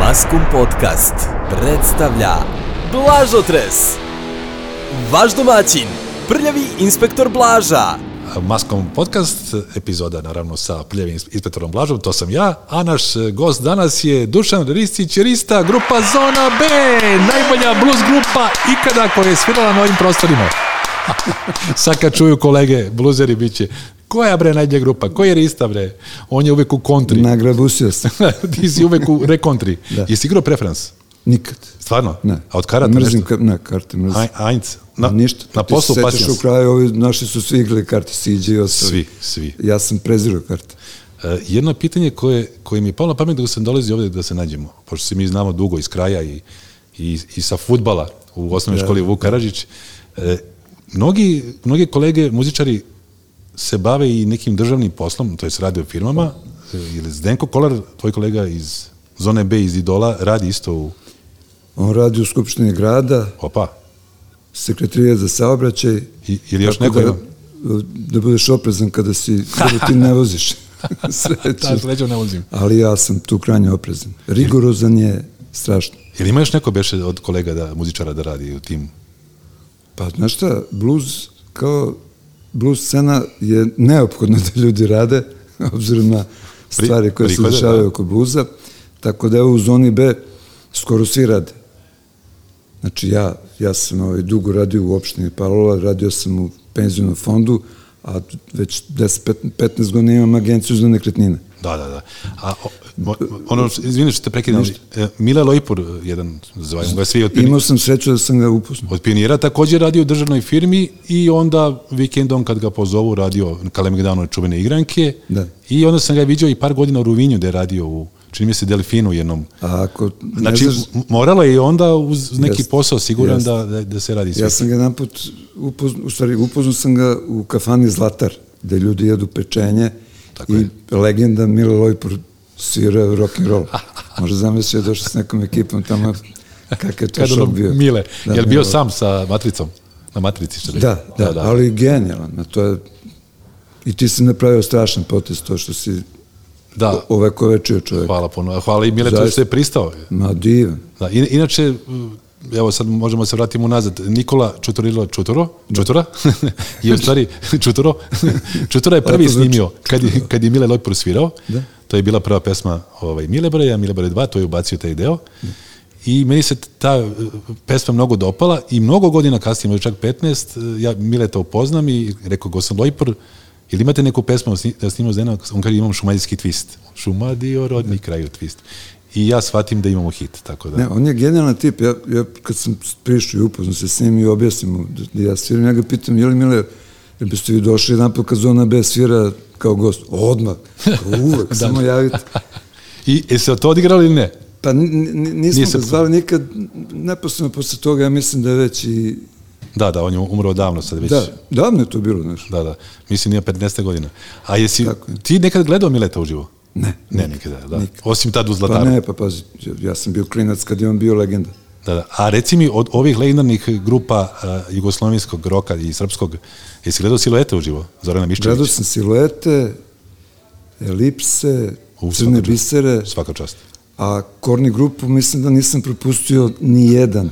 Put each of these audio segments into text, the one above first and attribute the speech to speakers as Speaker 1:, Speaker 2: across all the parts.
Speaker 1: Maskum Podcast predstavlja Blažotres Vaš domaćin, prljavi inspektor Blaža
Speaker 2: Maskom podcast, epizoda naravno sa pljevim inspektorom Blažom, to sam ja, a naš e, gost danas je Dušan Ristić Rista, grupa Zona B, najbolja blues grupa ikada koja je svirala na ovim prostorima. Sad kad čuju kolege, bluzeri bit će, koja bre najbolja grupa, koji je Rista bre? On je uvek u kontri,
Speaker 3: Nagrabusio sam.
Speaker 2: ti si uvek u rekontri. Jesi igrao preferans?
Speaker 3: Nikad.
Speaker 2: Stvarno?
Speaker 3: Da. Ne.
Speaker 2: A od karata
Speaker 3: Mrzim
Speaker 2: nešto?
Speaker 3: ka, ne, karte mrzim.
Speaker 2: Aj, ajnc. Na,
Speaker 3: Ništa.
Speaker 2: Na poslu
Speaker 3: pasijans. Ti se
Speaker 2: pasijans.
Speaker 3: setiš u kraju, ovi naši su svi igrali karte, siđe i ostali.
Speaker 2: Svi, svi.
Speaker 3: Ja sam prezirao karte.
Speaker 2: E, jedno pitanje koje, koje mi je palo na pamet da sam dolazio ovde da se nađemo, pošto se mi znamo dugo iz kraja i, i, i sa futbala u osnovnoj školi Vuk Karadžić. E, mnogi, mnoge kolege muzičari se bave i nekim državnim poslom, to je rade u firmama, e, ili Zdenko Kolar, tvoj kolega iz Zone B iz Idola, radi isto u
Speaker 3: On radi u Skupštini grada,
Speaker 2: Opa.
Speaker 3: sekretarija za saobraćaj.
Speaker 2: I, ili još
Speaker 3: Tako
Speaker 2: neko ima?
Speaker 3: da, da budeš oprezan kada si, kada ti ne voziš.
Speaker 2: Da,
Speaker 3: Sreće.
Speaker 2: sledeću ne ulazim.
Speaker 3: Ali ja sam tu krajnje oprezan. Rigorozan je strašno.
Speaker 2: Ili ima još neko beše od kolega da, muzičara da radi u tim?
Speaker 3: Pa, znaš šta, blues kao blues scena je neophodno da ljudi rade, obzirom na stvari koje se
Speaker 2: prihode,
Speaker 3: dešavaju
Speaker 2: da.
Speaker 3: oko bluza, tako da evo u zoni B skoro svi rade. Znači ja, ja sam ovaj, dugo radio u opštini Parola, radio sam u penzionom fondu, a već 10-15 godina imam agenciju za nekretnine.
Speaker 2: Da, da, da. A o, mo- ono, što- izvini što te prekidam, ali, e, Mile Lojpur, jedan, zvajmo ga svi od, pioni-
Speaker 3: Imao sam sreću da sam ga upoznao.
Speaker 2: od pionira, takođe radio u državnoj firmi i onda vikendom kad ga pozovu radio Kalemegdanu čuvene igranke
Speaker 3: Da.
Speaker 2: i onda sam ga vidio i par godina u Rovinju gde je radio u, čini mi se, Delfinu u jednom.
Speaker 3: A ako ne
Speaker 2: Znači,
Speaker 3: znaš-
Speaker 2: m- moralo je i onda uz neki
Speaker 3: Jest.
Speaker 2: posao siguran
Speaker 3: Jest.
Speaker 2: da, da, da se radi sve.
Speaker 3: Ja sam ga naput, upozno, u stvari upoznao sam ga u kafani Zlatar, gde ljudi jedu pečenje
Speaker 2: Tako
Speaker 3: i
Speaker 2: je.
Speaker 3: legenda Milo Lojpur svira rock and roll. Možda zamisli je došao s nekom ekipom tamo, kakav je to
Speaker 2: Kad
Speaker 3: šok
Speaker 2: ono,
Speaker 3: bio.
Speaker 2: Mile,
Speaker 3: Da,
Speaker 2: da, jel bio
Speaker 3: Milo.
Speaker 2: sam sa matricom? Na matrici, što bi-
Speaker 3: Da, da, da, ali genijalan. a To je, I ti si napravio strašan potez to što si
Speaker 2: Da.
Speaker 3: ovekovečio čovjek.
Speaker 2: Hvala puno. Hvala i Mile to
Speaker 3: Zaista.
Speaker 2: što je pristao.
Speaker 3: Ma divan.
Speaker 2: Da, in, inače, m, evo sad možemo da se vratiti unazad. Nikola Čutorilo Čutoro, Čutora, je u stvari Čutoro, Čutora je prvi
Speaker 3: Lepo zvuči.
Speaker 2: snimio kad, je- kad je Mile Lojpur svirao.
Speaker 3: Da.
Speaker 2: To je bila prva pesma ovaj, Milebore, ja Milebore 2, to je ubacio taj deo. I meni se ta e, pesma mnogo dopala i mnogo godina kasnije, možda čak 15, e, ja Mileta upoznam i rekao, Gosan Lojpor, ili imate neku pesmu sni- da snimao Zena? On kaže, imam šumadijski twist. Šumadio, rodni kraju twist. I ja shvatim da imamo hit, tako da...
Speaker 3: Ne, on je genijalan tip. Ja, ja kad sam prišao i upoznao se s njim i objasnim mu da, da ja sviram, ja ga pitam, je li Mile, jel biste vi došli jedan put kad Zona B svira kao gost? Odmah, kao uvek, samo
Speaker 2: Da,
Speaker 3: javite.
Speaker 2: I jeste li to odigrali ili ne?
Speaker 3: Pa n- n- nismo
Speaker 2: Nisam
Speaker 3: ga zvali nikad, neposledno posle toga, ja mislim da je već i...
Speaker 2: Da, da, on je umro davno sad već.
Speaker 3: Da, davno je to bilo, znaš.
Speaker 2: Da, da. Mislim, nije 15. godina. A jesi
Speaker 3: Tako je.
Speaker 2: ti nekad gledao Mileta uživo?
Speaker 3: Ne.
Speaker 2: Ne, nikada, da.
Speaker 3: Nikad.
Speaker 2: Osim tad u Zlataru.
Speaker 3: Pa ne, pa pazi, ja- ja sam bio klinac kad je on bio legenda.
Speaker 2: Da, da. A reci mi, od ovih legendarnih grupa uh, jugoslovenskog roka i srpskog, jesi gledao siluete uživo? Zorana Miščević?
Speaker 3: Gledao sam siluete, elipse,
Speaker 2: U, svaka
Speaker 3: crne
Speaker 2: čast.
Speaker 3: bisere.
Speaker 2: Svaka čast.
Speaker 3: a Korni grupu mislim da nisam propustio ni jedan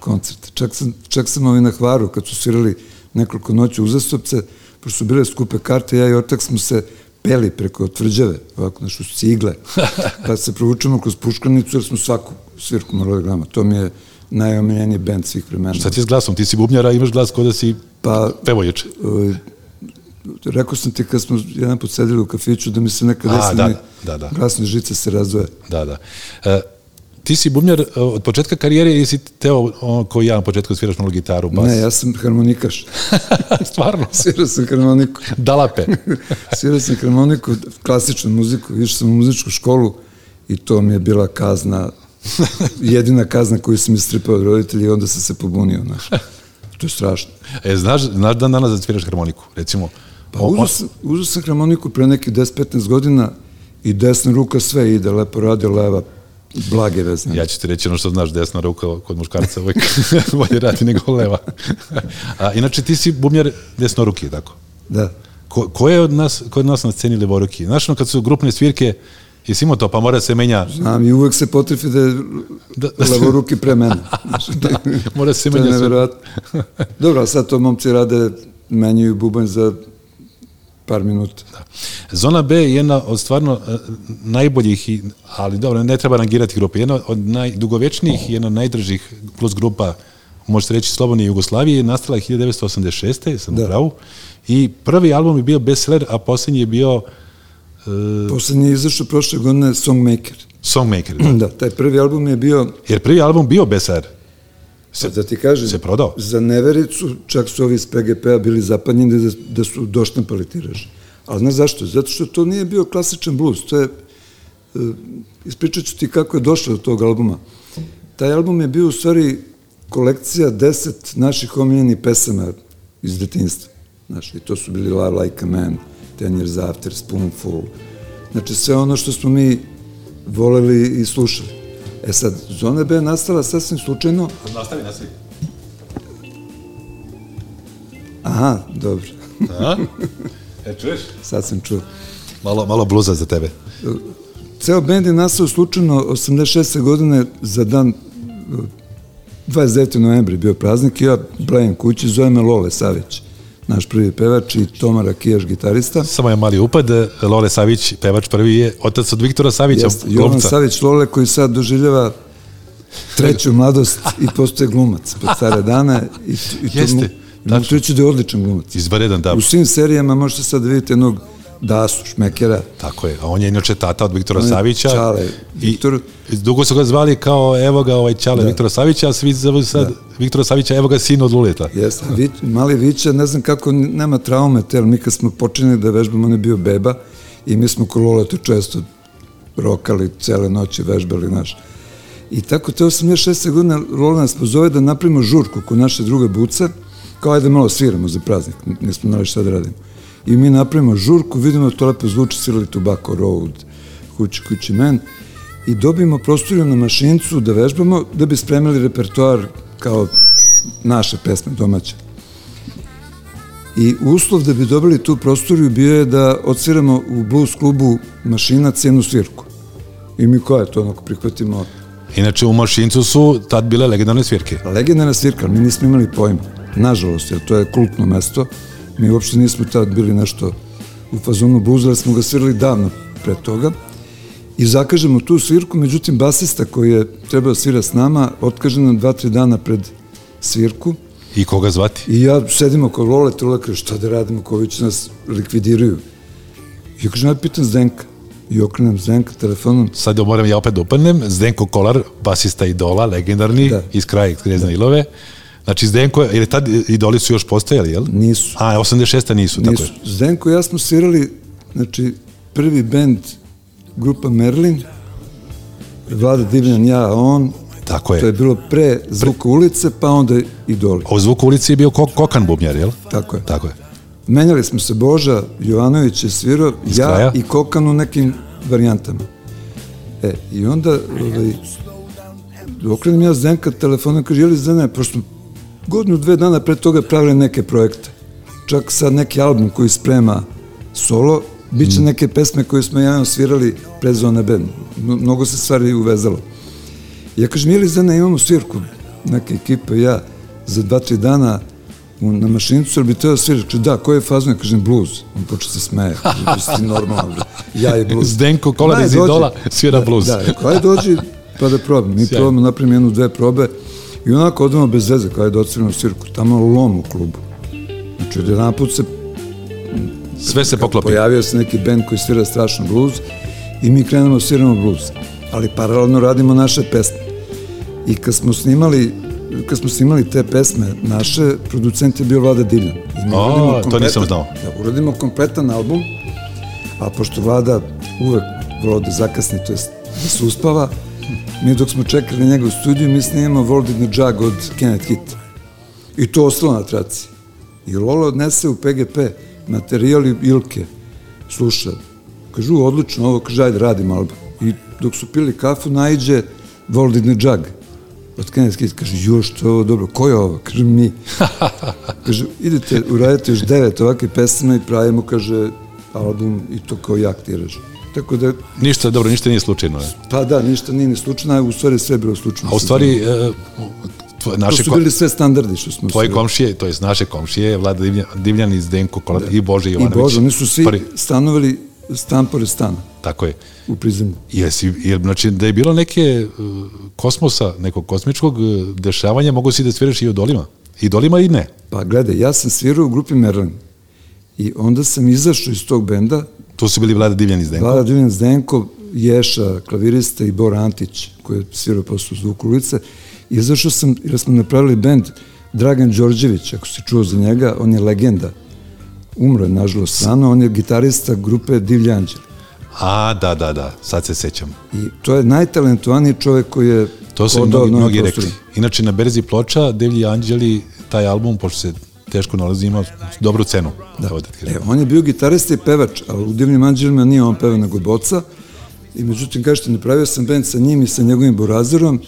Speaker 3: koncert. Čak sam, čak sam ovaj na Hvaru kad su svirali nekoliko noći uzastopce, pošto su bile skupe karte, ja i otak smo se peli preko tvrđave, ovako našu cigle, pa se provučemo kroz puškanicu jer smo svaku svirku morali da gledamo. To mi je najomiljeniji band svih vremena.
Speaker 2: Šta ti je s glasom? Ti si bubnjara, imaš glas kod da si
Speaker 3: Pa,
Speaker 2: pevoječ.
Speaker 3: ovaj, rekao sam ti kad smo jedan put sedeli u kafiću da mi se nekad
Speaker 2: A,
Speaker 3: desi
Speaker 2: da,
Speaker 3: mi
Speaker 2: da, da.
Speaker 3: glasne žice se razvoje.
Speaker 2: Da, da. E, ti si bubnjar e, od početka karijere ili si teo ono koji ja na početku sviraš malo gitaru, bas?
Speaker 3: Ne, ja sam harmonikaš.
Speaker 2: Stvarno?
Speaker 3: Svirao sam harmoniku.
Speaker 2: Dalape.
Speaker 3: Svirao sam harmoniku, klasičnu muziku, išao sam u muzičku školu i to mi je bila kazna, jedina kazna koju sam istrpao od roditelja i onda sam se pobunio. Znaš. To je strašno.
Speaker 2: E, znaš, znaš dan danas da sviraš harmoniku, recimo?
Speaker 3: Pa
Speaker 2: O-
Speaker 3: uzao sam, uzao sam harmoniku pre nekih 10-15 godina i desna ruka sve ide, lepo radi, leva, blage vezne.
Speaker 2: Ja ću ti reći ono što znaš, desna ruka kod muškarca uvek bolje radi nego leva. A, inače, ti si bumjer desnoruki, tako?
Speaker 3: Da.
Speaker 2: Ko, ko je od nas, ko je od nas na sceni levoruki? Znaš, ono, kad su grupne svirke, Jesi imao to, pa mora se menja,
Speaker 3: Znam, i uvek se potrefi da je
Speaker 2: Da,
Speaker 3: da,
Speaker 2: da se-
Speaker 3: levoruki pre mene. Znaš,
Speaker 2: mora se
Speaker 3: to je
Speaker 2: menja sve.
Speaker 3: neverovatno. Dobro, a sad to momci rade, menjaju bubanj za par minuta.
Speaker 2: Zona B je jedna od stvarno e, najboljih, i- ali dobro, ne treba rangirati grupe, jedna od najdugovečnijih i jedna od najdržih plus grupa, može se reći, Slobodne Jugoslavije, nastala je 1986. sam da.
Speaker 3: Da.
Speaker 2: u pravu, i prvi album je bio bestseller, a posljednji je bio uh,
Speaker 3: Poslednji je izašao prošle godine Songmaker.
Speaker 2: Songmaker.
Speaker 3: Da, taj prvi album je bio,
Speaker 2: Jer prvi album bio bestseller. Se,
Speaker 3: da ti kažem,
Speaker 2: se prodao.
Speaker 3: za nevericu, čak su ovi iz PGP-a bili zapanjeni da, da su doštampali tiraž. Ali znaš zašto? Zato što to nije bio klasičan blues. To je, e, ispričat ću ti kako je došlo do tog albuma. Taj album je bio u stvari kolekcija deset naših omiljenih pesama iz detinjstva. Znaš, i to su bili Love Like a Man, Ten Years After, Spoonful. Znači, sve ono što smo mi voleli i slušali. E sad, Zona B je nastala sasvim slučajno,
Speaker 2: Nastavi, nastavi.
Speaker 3: Aha, dobro,
Speaker 2: A? E, čuješ?
Speaker 3: sad sam čuo.
Speaker 2: Malo, malo bluza za tebe.
Speaker 3: Ceo bend je nastao slučajno 86. godine za dan uh, 29. novembra je bio praznik i ja brajem kući, zove me Lole Savić, naš prvi pevač i Toma Rakijaš, gitarista.
Speaker 2: Samo je mali upad, e, Lole Savić, pevač prvi je otac od Viktora Savića,
Speaker 3: Jeste, Jovan
Speaker 2: glumca.
Speaker 3: Savić Lole koji sad doživljava treću mladost i postaje glumac pod stare dane i, i to
Speaker 2: Jeste,
Speaker 3: mu, mogu
Speaker 2: tačno.
Speaker 3: reći da je odličan glumac.
Speaker 2: Izvanredan, da.
Speaker 3: U svim serijama možete sad da vidite jednog Dasu, Šmekera,
Speaker 2: Tako je, a on je inače tata od Viktora
Speaker 3: On je
Speaker 2: Savića.
Speaker 3: Čale,
Speaker 2: I
Speaker 3: Viktor.
Speaker 2: Dugo su ga zvali kao evo ga ovaj Čale da. Viktora Savića, a svi zovu sad da. Viktora Savića evo ga sin od Luleta.
Speaker 3: Jeste, vi, mali Vića, ne znam kako n- nema traume, te, ali mi kad smo počinili da vežbamo, on je bio beba i mi smo kololete često rokali, cele noći vežbali, znaš. I tako te 86. godine Lola nas pozove da napravimo žurku kod naše druga buca, kao ajde malo sviramo za praznik, n- nismo znali šta da radimo. I mi napravimo žurku, vidimo da to lepo zvuči, sirali Tobacco Road, kući, kući men, i dobijemo prostoriju na mašincu da vežbamo, da bi spremili repertoar kao naše pesme domaće. I uslov da bi dobili tu prostoriju bio je da odsviramo u blues klubu mašina cijenu svirku. I mi koja je to onako prihvatimo
Speaker 2: Inače u Mašincu su tad bile legendarne svirke.
Speaker 3: legendarna svirka, ali mi nismo imali pojma. Nažalost, jer to je kultno mesto, mi uopšte nismo tad bili nešto u fazonu bluza, jer smo ga svirali davno pre toga. I zakažemo tu svirku, međutim, basista koji je trebao svira s nama, otkaže nam dva, tri dana pred svirku,
Speaker 2: I koga zvati?
Speaker 3: I ja sedim oko Lole, Trula kaže, šta da radimo, koji će nas likvidiraju. I ja kažem, ja pitam Zdenka. I okrenem Zdenka telefonom.
Speaker 2: Sad moram ja opet da upadnem, Zdenko Kolar, basista Idola, legendarni, da.
Speaker 3: Da.
Speaker 2: iz kraja Knjezna Ilove. Znači Zdenko, je- jer je tad Idoli su još postojali, jel?
Speaker 3: Nisu.
Speaker 2: A, 86. nisu, nisu. tako
Speaker 3: Nisu.
Speaker 2: je.
Speaker 3: Zdenko i ja smo svirali, znači, prvi bend grupa Merlin, Vlada Divljan, ja, on,
Speaker 2: Tako je.
Speaker 3: to je bilo pre Zvuka ulice, pa onda Idoli.
Speaker 2: A u zvuku ulici je bio ko, kokan bubnjar, jel?
Speaker 3: Tako je.
Speaker 2: Tako je.
Speaker 3: Menjali smo se, Boža Jovanović je svirao, ja
Speaker 2: kraja?
Speaker 3: i Kokan u nekim varijantama. E, i onda, ovaj, okrenem ja Zdenka telefonom, kaže, jeli Zdene, pošto smo godinu, dve dana pre toga pravili neke projekte. Čak sad neki album koji sprema solo, bit
Speaker 2: Mm.
Speaker 3: će neke pesme koje smo ja i on svirali pre Zone B. Mno- Mnogo se stvari uvezalo. Ja kažem, jeli Zdene, imamo svirku, neka ekipa i ja, za dva, tri dana u, na mašincu, jer bi teo svirati. Kaže, da, koje je fazno? Ja kažem, blues. On počeo se smeje. Kaže, "Jesi ti normalno, bre. Ja i blues.
Speaker 2: Zdenko Kolar
Speaker 3: Daj,
Speaker 2: iz
Speaker 3: dođi.
Speaker 2: Idola svira blues.
Speaker 3: Da, rekao, ajde dođi pa da probam. Mi
Speaker 2: Sjajno.
Speaker 3: probamo, napravimo jednu, dve probe i onako odemo bez veze, kao da ajde odsviramo svirku, tamo lom u klubu. Znači, od jedan put se
Speaker 2: Sve se poklopi.
Speaker 3: pojavio se neki band koji svira strašno blues i mi krenemo da sviramo blues, ali paralelno radimo naše pesme. I kad smo snimali kad smo snimali te pesme naše, producent je bio Vlada Divljan. I mi
Speaker 2: O,
Speaker 3: uradimo
Speaker 2: to
Speaker 3: kompletan-
Speaker 2: nisam znao.
Speaker 3: Da, uradimo kompletan album, a pošto Vlada uvek volao da zakasni, to jest da se uspava, mi dok smo čekali njega u studiju, mi snimamo Voldit the Jug od Kenneth Hita. I to ostalo na traci. I Lola odnese u PGP materijal i Ilke sluša. Kažu, odlično ovo, kaže, ajde, radimo album. I dok su pili kafu, najđe Voldit the Jug od Kenneth Hita. Kaže, jo, što je ovo dobro, ko je ovo? Kaže, mi. Kaže, idete, uradite još devet ovakve pesme i pravimo, kaže, album i to kao jak tiraž. Tako da,
Speaker 2: Ništa, dobro, ništa nije slučajno. Je.
Speaker 3: pa da, ništa nije ni slučajno, a u stvari sve je bilo slučajno.
Speaker 2: A u stvari, e, tvo,
Speaker 3: da- To
Speaker 2: naše
Speaker 3: su
Speaker 2: ko,
Speaker 3: bili sve standardi što smo
Speaker 2: tvoje
Speaker 3: se-
Speaker 2: komšije, to jest naše komšije, Vlada Divljan, Divljan iz Denko Kolat, i Bože
Speaker 3: Da. I
Speaker 2: Jovanović.
Speaker 3: Bože, oni su svi
Speaker 2: Prvi,
Speaker 3: stanovali stan pored stana
Speaker 2: tako je.
Speaker 3: u prizemlju.
Speaker 2: Jesi, jel, znači, da je bilo neke e, kosmosa, nekog kosmičkog e, dešavanja, mogu si da sviraš i odolima. I dolima i ne.
Speaker 3: Pa gledaj, ja sam svirao u grupi Merlin i onda sam izašao iz tog benda,
Speaker 2: Tu su bili Vlada Divljan iz Denko.
Speaker 3: Vlada Divljan Zdenko, Ješa, klavirista i Bor Antić, koji je svirao posle u zvuku ulice. Izašao sam, jer smo napravili bend Dragan Đorđević, ako si čuo za njega, on je legenda. Umro je, nažalost, rano, on je gitarista grupe Divlji Anđeli.
Speaker 2: A, da, da, da, sad se sećam.
Speaker 3: I to je najtalentovaniji čovjek koji je
Speaker 2: To su i
Speaker 3: hodao
Speaker 2: mnogi,
Speaker 3: na ovom
Speaker 2: mnogi
Speaker 3: prostoru.
Speaker 2: rekli. Inače, na Berzi ploča, Devlji Anđeli, taj album, pošto se teško nalazi, ima dobru cenu. Da. Evo, da ti kažem.
Speaker 3: E, on je bio gitarista i pevač, ali u Divnim anđelima nije on pevao nego boca. I međutim, kažete, napravio sam band sa njim i sa njegovim burazerom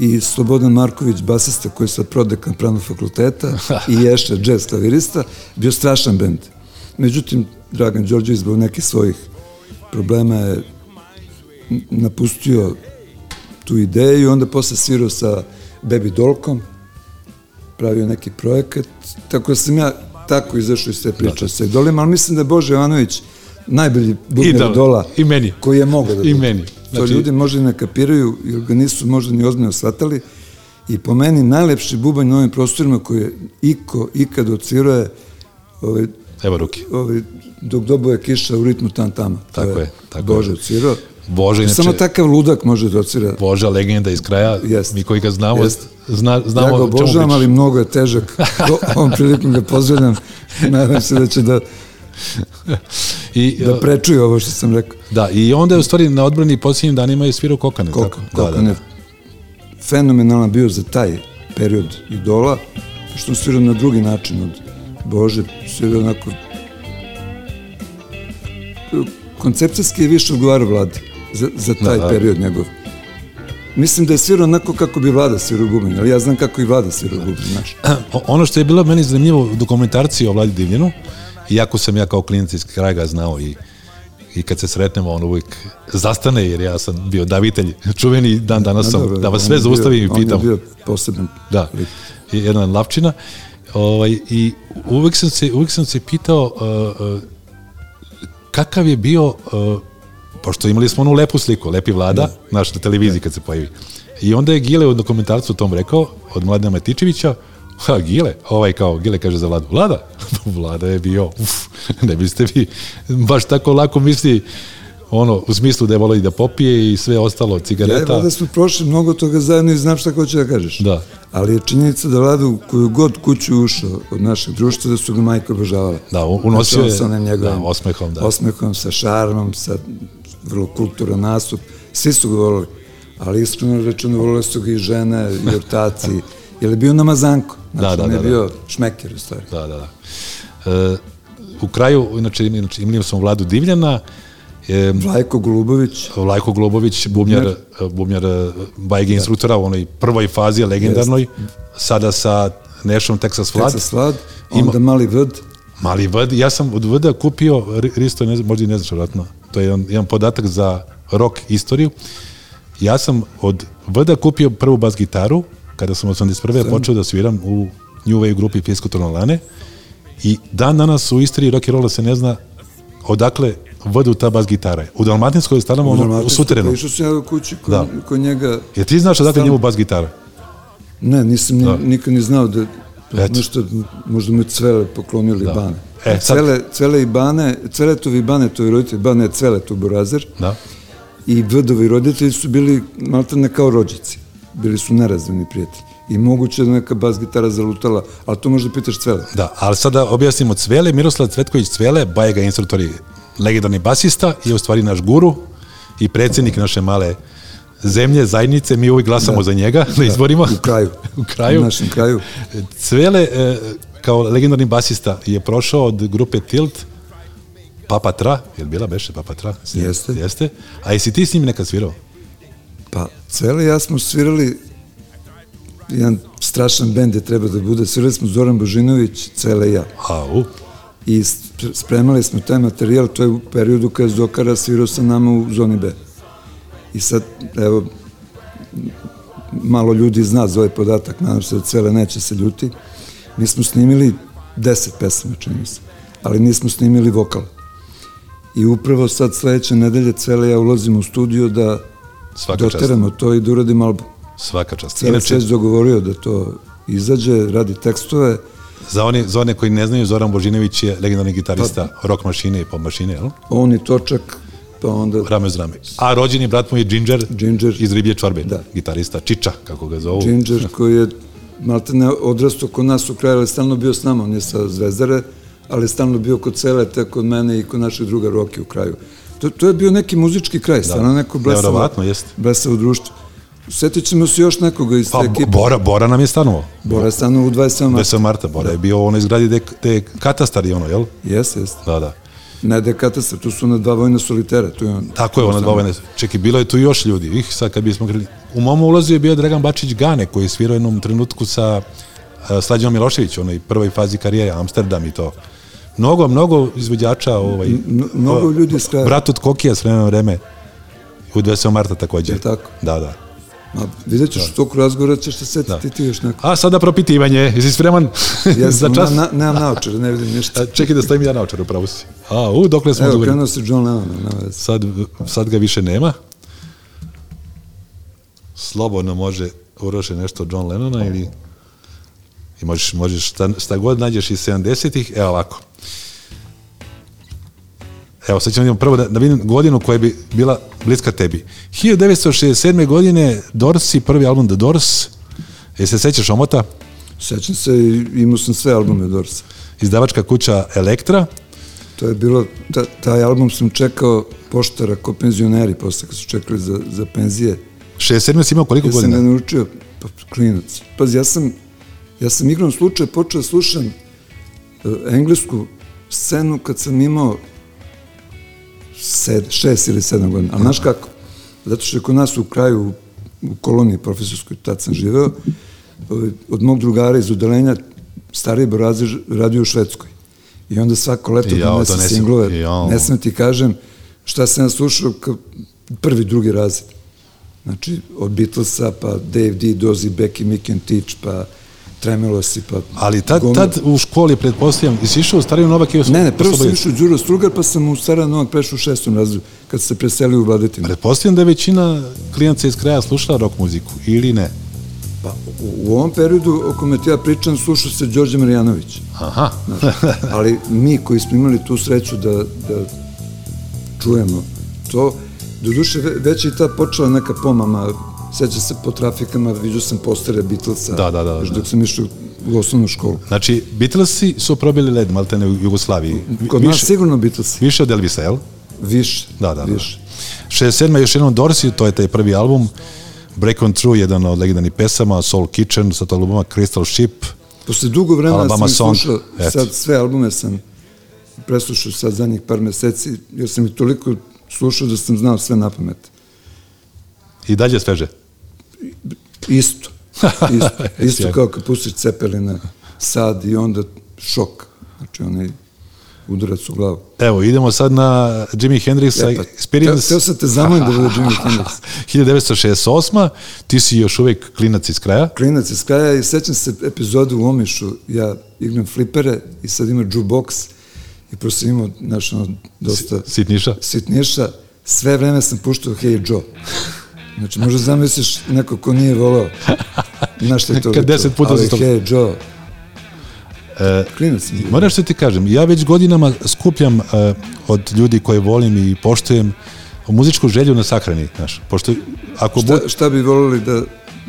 Speaker 3: i Slobodan Marković, basista koji je sad prodekan pravnog fakulteta i Ješa, jazz klavirista, bio strašan band. Međutim, Dragan Đorđević zbog nekih svojih problema je n- napustio tu ideju i onda posle svirao sa Baby Dolkom, pravio neki projekat, tako da sam ja tako izašao iz te priče sa idolima, ali mislim da je Bože Jovanović najbolji bubnjar
Speaker 2: Idol.
Speaker 3: idola
Speaker 2: I meni.
Speaker 3: koji je mogao da
Speaker 2: I
Speaker 3: bude.
Speaker 2: meni.
Speaker 3: To
Speaker 2: Znači-
Speaker 3: ljudi možda i ne kapiraju, jer ga nisu možda ni ozbiljno shvatali. I po meni najlepši bubanj na ovim prostorima koji je iko ikad odsvirao je ovaj,
Speaker 2: Evo ruki.
Speaker 3: ovaj, dok doboje kiša u ritmu tam tama.
Speaker 2: Tako je, tako
Speaker 3: Bože
Speaker 2: je.
Speaker 3: odsvirao.
Speaker 2: Bože, inače,
Speaker 3: Samo takav ludak može da odsvira.
Speaker 2: Boža legenda iz kraja,
Speaker 3: Jest.
Speaker 2: mi koji ga znamo,
Speaker 3: Jest.
Speaker 2: zna, znamo
Speaker 3: Ja ga
Speaker 2: o čemu
Speaker 3: obožavam,
Speaker 2: priča.
Speaker 3: ali mnogo je težak. O- Ovom prilikom ga pozdravljam. Nadam se da će da,
Speaker 2: I,
Speaker 3: da prečuje ovo što sam rekao.
Speaker 2: da, i onda je u stvari na odbrani posljednjim danima je svirao kokane.
Speaker 3: Koliko,
Speaker 2: tako?
Speaker 3: koliko
Speaker 2: da, da,
Speaker 3: ne, fenomenalan bio za taj period idola, što on svirao na drugi način od Bože, svirao onako koncepcijski je više odgovarao vladi za, za taj
Speaker 2: Da, da.
Speaker 3: period njegov. Mislim da je svirao onako kako bi vlada svirao bubanj, ali ja znam kako i vlada svirao
Speaker 2: Da.
Speaker 3: bubanj, znaš.
Speaker 2: O- ono što je bilo meni zanimljivo u dokumentarciji o Vladi Divljenu, iako sam ja kao klinac iz kraja ga znao i, i kad se sretnemo, on uvijek zastane, jer ja sam bio davitelj, čuveni dan danas sam,
Speaker 3: dobro,
Speaker 2: da vas
Speaker 3: on
Speaker 2: sve
Speaker 3: je bio-
Speaker 2: zaustavim i pitam.
Speaker 3: On je bio poseban
Speaker 2: Da,
Speaker 3: lik.
Speaker 2: i jedan lapčina. Ovaj, I uvijek sam se, uvijek sam se pitao uh, uh, kakav je bio, uh, pošto imali smo onu lepu sliku, lepi vlada,
Speaker 3: Da.
Speaker 2: znaš, na televiziji kad se pojavi. I onda je Gile u dokumentarcu tom rekao, od Mladena Matičevića, ha, Gile, ovaj kao, Gile kaže za vladu, vlada? vlada je bio, uf, ne biste vi baš tako lako misli, ono, u smislu da je volio i da popije i sve ostalo,
Speaker 3: Ja da i
Speaker 2: cigareta.
Speaker 3: Vlada E, smo prošli mnogo toga zajedno i znam šta hoće da kažeš.
Speaker 2: Da.
Speaker 3: Ali je činjenica da Vlada u koju god kuću je ušao od našeg društva, da su ga majka obožavala.
Speaker 2: Da, u- unosio
Speaker 3: Znači, on
Speaker 2: je-
Speaker 3: sa onim njegovim,
Speaker 2: da, osmehom, da.
Speaker 3: Osmehom, sa šarmom, sa vrlo kulturan nastup. Svi su ga volili. Ali iskreno rečeno, volile su ga i žene, i ortaci. Jer je bio namazanko. Znači,
Speaker 2: Da, da,
Speaker 3: on je
Speaker 2: da, da.
Speaker 3: bio šmeker, u stvari.
Speaker 2: da, da, da. E, u kraju, inače, inače imali smo Vladu Divljana, e,
Speaker 3: Vlajko Golubović,
Speaker 2: Vlajko Globović, bubnjar, e, bubnjar e, bajge instruktora u onoj prvoj fazi, legendarnoj, sada sa Nešom Texas Vlad,
Speaker 3: Vlad, Slad, onda Mali Vrd,
Speaker 2: mali VD, ja sam od VD kupio, Ri- Risto, ne znam, možda i ne znaš, vratno, to je jedan, jedan podatak za rock istoriju, ja sam od VD kupio prvu bas gitaru, kada sam 81. počeo da sviram u New Wave grupi Pjesko Tornolane, I dan danas u Istri rock and rolla se ne zna odakle vodu ta bas gitara. je. U Dalmatinskoj je stanamo ono, u
Speaker 3: Dalmatinsku, pa
Speaker 2: suterenu.
Speaker 3: Išao sam ja u kući kod,
Speaker 2: Da.
Speaker 3: kod njega
Speaker 2: Jer ti znaš odakle
Speaker 3: Stalno.
Speaker 2: njemu bas gitara?
Speaker 3: Ne, nisam ni, nikad ni znao da
Speaker 2: Eto.
Speaker 3: nešto, možda mu je Cvele poklonili da. Bane.
Speaker 2: E, sad-
Speaker 3: Cvele, Cvele i Bane, Cveletovi i Bane, to je roditelj Bane, je Cvele tu Burazer,
Speaker 2: Da.
Speaker 3: i Vdovi roditelji su bili maltene kao rođici. Bili su nerazvani prijatelji. I moguće da neka bas gitara zalutala, ali to možda pitaš Cvele.
Speaker 2: Da, ali sada objasnimo Cvele, Miroslav Cvetković Cvele, bajega instruktor i legendarni basista, je u stvari naš guru i predsjednik naše male zemlje, zajednice, mi uvijek glasamo za njega na izborima.
Speaker 3: Da. U kraju.
Speaker 2: u kraju.
Speaker 3: U našem kraju.
Speaker 2: Cvele, e, kao legendarni basista, je prošao od grupe Tilt, Papa Tra, je li bila beše Papa Tra?
Speaker 3: Jeste.
Speaker 2: Jeste. A jesi ti s njim nekad svirao?
Speaker 3: Pa, Cvele i ja smo svirali jedan strašan bend je treba da bude. Svirali smo Zoran Božinović, Cvele i ja.
Speaker 2: Au,
Speaker 3: i s- spremali smo taj materijal, to je u periodu kada je Zokara svirao sa nama u zoni B. I sad, evo, malo ljudi zna za ovaj podatak, nadam se da cele neće se ljuti. Mi smo snimili 10 pesama, čini mi se, ali nismo snimili vokal. I upravo sad sledeće nedelje cele ja ulazim u studio da
Speaker 2: Svaka čast.
Speaker 3: doteramo to i da uradim album.
Speaker 2: Svaka čast.
Speaker 3: Cele
Speaker 2: Inače,
Speaker 3: se dogovorio da to izađe, radi tekstove,
Speaker 2: za one, za one koji ne znaju, Zoran Božinović je legendarni gitarista
Speaker 3: Pa-
Speaker 2: rock mašine i pop mašine, jel?
Speaker 3: on i točak, pa onda...
Speaker 2: Rame uz rame. A rođeni brat mu je Ginger,
Speaker 3: Ginger.
Speaker 2: iz Riblje čorbe,
Speaker 3: Da.
Speaker 2: gitarista Čiča, kako ga zovu.
Speaker 3: Ginger koji je maltene odrastao kod nas u kraju, ali je stalno bio s nama, on je sa Zvezdare, ali je stalno bio kod Celeta, kod mene i kod našeg druga Roki u kraju. To, to je bio neki muzički kraj, da. stvarno neko blesavo,
Speaker 2: Nevjerovatno, jest.
Speaker 3: blesavo društvo. Setit ćemo se još nekoga iz
Speaker 2: Pa,
Speaker 3: te ekipe.
Speaker 2: Bora, Bora nam je stanovao.
Speaker 3: Bora Da. je stano u 27. marta.
Speaker 2: 10. marta, Bora je bio u onoj zgradi gde, gde je katastar i ono, jel?
Speaker 3: Jeste, jeste.
Speaker 2: Da, da.
Speaker 3: Ne da je katastar, tu su ona dva vojna solitera. Tu je on.
Speaker 2: Tako je, ona dva vojna. Čekaj, bilo je tu još ljudi. Ih, sad kad bismo krili. U mom ulazu je bio Dragan Bačić Gane, koji je svirao u jednom trenutku sa uh, Slađanom Milošević, onoj prvoj fazi karijere, Amsterdam i to. Mnogo, mnogo izvođača, ovaj,
Speaker 3: mnogo
Speaker 2: o-
Speaker 3: ljudi iz kraja.
Speaker 2: Brat od Kokija s vremena na vreme, u 20. marta takođe.
Speaker 3: Je tako?
Speaker 2: Da, da.
Speaker 3: Ma, vidjet ćeš, u toku razgovora ćeš se setiti ti još neko.
Speaker 2: A sada propitivanje, jesi spreman
Speaker 3: Ja
Speaker 2: Da. za
Speaker 3: sam,
Speaker 2: čas?
Speaker 3: na, na, nemam naočare, ne vidim ništa.
Speaker 2: A, Čekaj da stavim ja naočar, upravo si. A, u, dokle smo
Speaker 3: Evo,
Speaker 2: dovoljni?
Speaker 3: krenuo se John Lennon, nema veze.
Speaker 2: sad, sad ga više nema. Slobodno može uroše nešto od John Lennona ili i možeš, možeš šta, šta god nađeš iz 70-ih, evo ovako. Evo, sad ćemo vidimo prvo da, da vidim godinu koja bi bila bliska tebi. 1967. godine Dorsi, prvi album The Doors, jel se sećaš omota,
Speaker 3: Sećam se i imao sam sve albume Dorsa.
Speaker 2: izdavačka kuća Elektra,
Speaker 3: To je bilo, ta, taj album sam čekao poštara ko penzioneri posle kad su čekali za, za penzije.
Speaker 2: 67. si imao koliko
Speaker 3: Ja sam
Speaker 2: godina?
Speaker 3: ga naučio, pa klinac. Pazi, ja sam, ja sam igrom slučaja počeo da slušam e, englesku scenu kad sam imao sed, šest ili sedam godina. Ali znaš kako? Zato što je kod nas u kraju, u koloniji profesorskoj, tad sam živeo, ovaj, od mog drugara iz udelenja stariji Borazi radio u Švedskoj. I onda svako leto
Speaker 2: Jao,
Speaker 3: ja, donese
Speaker 2: donesu-
Speaker 3: singlove.
Speaker 2: jao.
Speaker 3: Ne smem ti kažem šta sam ja slušao kao prvi, drugi razred. Znači, od Beatlesa, pa Dave D, Dozy, Becky, Mick and Teach, pa Tremelosi, pa...
Speaker 2: Ali tad,
Speaker 3: gomilu-
Speaker 2: tad u školi, pretpostavljam, jesi išao u Stariju Novak i u
Speaker 3: Ne, ne, prvo sam
Speaker 2: Slobodac?
Speaker 3: išao u Đuro Strugar, pa sam u Sara Novak prešao u šestom razredu, kad se preselio u Vladetinu.
Speaker 2: Pretpostavljam da je većina klijenca iz kraja slušala rock muziku, ili ne?
Speaker 3: Pa, u, u ovom periodu o kome ti ja pričam, slušao se Đorđe Marjanović.
Speaker 2: Aha.
Speaker 3: Ali mi koji smo imali tu sreću da, da čujemo to, doduše ve- već je i tad počela neka pomama, sećam se po trafikama, vidio sam postere Beatlesa,
Speaker 2: Da, da, da,
Speaker 3: još
Speaker 2: da.
Speaker 3: dok sam išao u osnovnu školu.
Speaker 2: Znači, Beatlesi su probili led, malte ne, u Jugoslaviji.
Speaker 3: Kod nas sigurno Beatlesi,
Speaker 2: više od Elvisa, jel?
Speaker 3: više,
Speaker 2: Da, da, da.
Speaker 3: više.
Speaker 2: 67. još jednom Dorsi, to je taj prvi album, Break on Through, jedan od legendarnih pesama, Soul Kitchen, sa to albuma Crystal Ship,
Speaker 3: Posle dugo vremena
Speaker 2: Alabama
Speaker 3: Alabama sam
Speaker 2: Song,
Speaker 3: ih slušao,
Speaker 2: eto.
Speaker 3: sad sve albume sam preslušao sad zadnjih par meseci, jer sam ih toliko slušao da sam znao sve na pamet.
Speaker 2: i dalje sveže.
Speaker 3: Isto. Isto, isto
Speaker 2: Sjajno.
Speaker 3: kao kad pustiš cepelina sad i onda šok. Znači onaj udarac u glavu.
Speaker 2: Evo, idemo sad na Jimi Hendrixa,
Speaker 3: E, pa,
Speaker 2: Experience.
Speaker 3: teo- Teo sam te zamolim da bude Jimi Hendrix.
Speaker 2: 1968. Ti si još uvijek klinac iz kraja.
Speaker 3: Klinac iz kraja i sećam se epizodu u Omišu, ja igram flipere i sad ima jukebox i prosto sam imao, znaš, ono, dosta...
Speaker 2: Sitniša.
Speaker 3: sitniša, sve vreme sam puštao Hey Joe. Znači, možda zamisliš neko ko nije volao. Znaš šta je to?
Speaker 2: Kad
Speaker 3: lično,
Speaker 2: deset puta
Speaker 3: ali
Speaker 2: za E, to-
Speaker 3: Hey Joe. Klinac. sam bio.
Speaker 2: Moram što ti kažem, ja već godinama skupljam uh, od ljudi koje volim i poštujem muzičku želju na sahrani, znaš, pošto ako bu,
Speaker 3: Šta, šta bi volili da...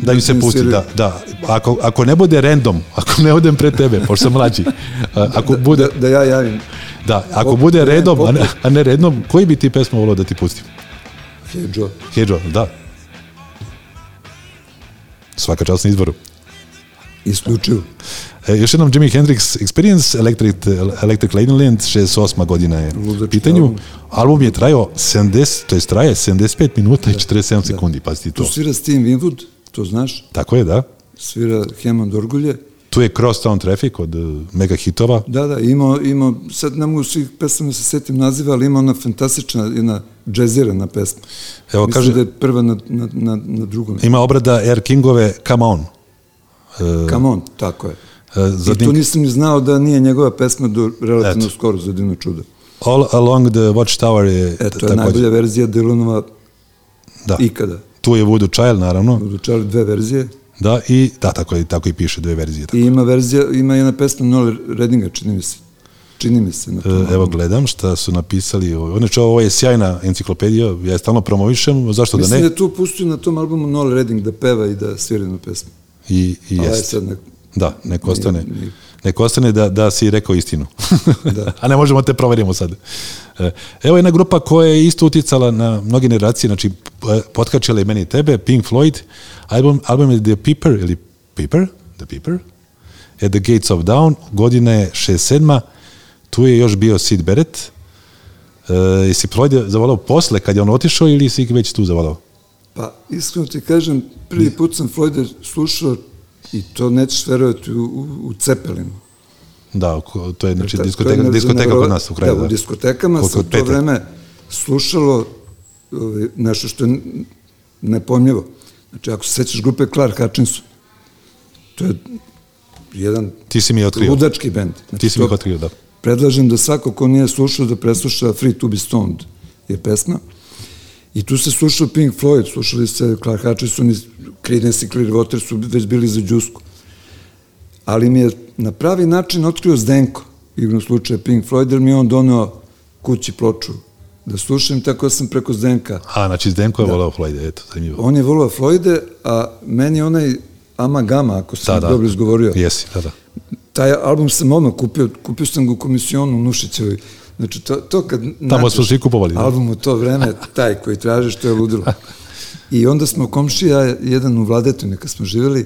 Speaker 2: da im se
Speaker 3: im
Speaker 2: pusti,
Speaker 3: sviraju?
Speaker 2: da, da, ako, ako ne bude random, ako ne odem pre tebe, pošto sam mlađi, uh, ako bude,
Speaker 3: Da ja javim
Speaker 2: da, ako
Speaker 3: pop-
Speaker 2: bude
Speaker 3: ne,
Speaker 2: redom, a ne,
Speaker 3: pop-
Speaker 2: a ne redom, koji bi ti pesmu volao da ti pustim?
Speaker 3: Hey Joe.
Speaker 2: Hedžo, da. Svaka čast na izboru.
Speaker 3: Isključivo.
Speaker 2: E, još jednom Jimi Hendrix Experience, Electric, Electric Ladyland, 68. godina je u
Speaker 3: Ludački
Speaker 2: pitanju. Album.
Speaker 3: album.
Speaker 2: je trajao 70, to je traje 75 minuta
Speaker 3: Da.
Speaker 2: i 47 sekundi, pazite to.
Speaker 3: Tu svira Steve Winwood, to znaš.
Speaker 2: Tako je, da.
Speaker 3: Svira Hammond Orgulje.
Speaker 2: tu je Crosstown Traffic od uh, mega hitova.
Speaker 3: Da, da, imao, imao, sad ne mogu svih pesama da se setim naziva, ali ima ona fantastična, jedna džezirana pesma.
Speaker 2: Evo,
Speaker 3: Mislim
Speaker 2: kaže-
Speaker 3: da je prva na, na, na, na drugom.
Speaker 2: Ima obrada Air Kingove Come On. Uh,
Speaker 3: Come on, tako je.
Speaker 2: uh, za
Speaker 3: I tu
Speaker 2: Dink-
Speaker 3: nisam ni znao da nije njegova pesma do relativno
Speaker 2: Eto.
Speaker 3: skoro za Dino Čudo.
Speaker 2: All Along the Watchtower je
Speaker 3: E,
Speaker 2: ta-
Speaker 3: to je najbolja verzija Dylanova
Speaker 2: Da.
Speaker 3: ikada.
Speaker 2: Tu je Voodoo Child, naravno.
Speaker 3: Odučali dve verzije
Speaker 2: Da, i da, tako, je, tako i piše dve verzije. Tako.
Speaker 3: i ima verzija, ima jedna pesma Noel Redinga, čini mi se. Čini mi se. Na tom.
Speaker 2: E, Evo gledam šta su napisali. ovo- Znači, ovo je sjajna enciklopedija, ja je stalno promovišem, zašto da
Speaker 3: Mislim da
Speaker 2: ne?
Speaker 3: je tu pustio na tom albumu Noel Redding da peva i da svira jednu pesmu.
Speaker 2: I, i
Speaker 3: Ovaj
Speaker 2: jest.
Speaker 3: sad nek-
Speaker 2: Da, nek ostane,
Speaker 3: nije.
Speaker 2: nek ostane da, da si rekao istinu.
Speaker 3: Da.
Speaker 2: A ne možemo da te proverimo sad. E, Evo jedna grupa koja je isto uticala na mnoge generacije, znači p- potkačila je meni i tebe, Pink Floyd, album, album je The Piper, ili Piper? The Piper? At the Gates of Dawn, godina je 67. Tu je još bio Sid Barrett. E, jesi Floyd zavolao posle kad je on otišao ili si ih već tu zavolao?
Speaker 3: Pa, iskreno ti kažem, prvi put sam Floyda slušao i to nećeš verovati u, u, u Cepelinu.
Speaker 2: Da, ko- to je znači
Speaker 3: Ta- Dakle, to je
Speaker 2: diskoteka,
Speaker 3: nevro-
Speaker 2: diskoteka kod nas u kraju.
Speaker 3: Da, u diskotekama
Speaker 2: Kod-
Speaker 3: se u
Speaker 2: kod
Speaker 3: to
Speaker 2: Petra.
Speaker 3: vreme slušalo ovaj, nešto što je n- nepojmljivo. Znači, ako se sećaš grupe Clark Hutchinson, to je jedan
Speaker 2: Ti si mi je otkrio.
Speaker 3: ludački bend. Znači,
Speaker 2: Ti si mi ih
Speaker 3: to-
Speaker 2: otkrio, da.
Speaker 3: Predlažem da svako ko nije slušao da presluša Free to be Stoned je pesma. I tu se slušao Pink Floyd, slušali se Clark Hutchison i Creedence i Clearwater su već bili za džusku. Ali mi je na pravi način otkrio Zdenko, igrom slučaja Pink Floyd, jer mi je on doneo kući ploču da slušam, tako da sam preko Zdenka.
Speaker 2: A, znači Zdenko je volao Floyd, eto, zanimljivo.
Speaker 3: Da. On je volao Floyde, a meni je onaj Amagama, ako sam da, dobro izgovorio.
Speaker 2: Jesi, da, da.
Speaker 3: Taj album sam odmah kupio, kupio sam ga u komisionu u Nušićevoj. Znači, to, to kad
Speaker 2: Tamo smo svi kupovali, da.
Speaker 3: Album u to vreme, taj koji tražiš, to je ludilo. I onda smo komšija, jedan u Vladetu, neka smo živjeli,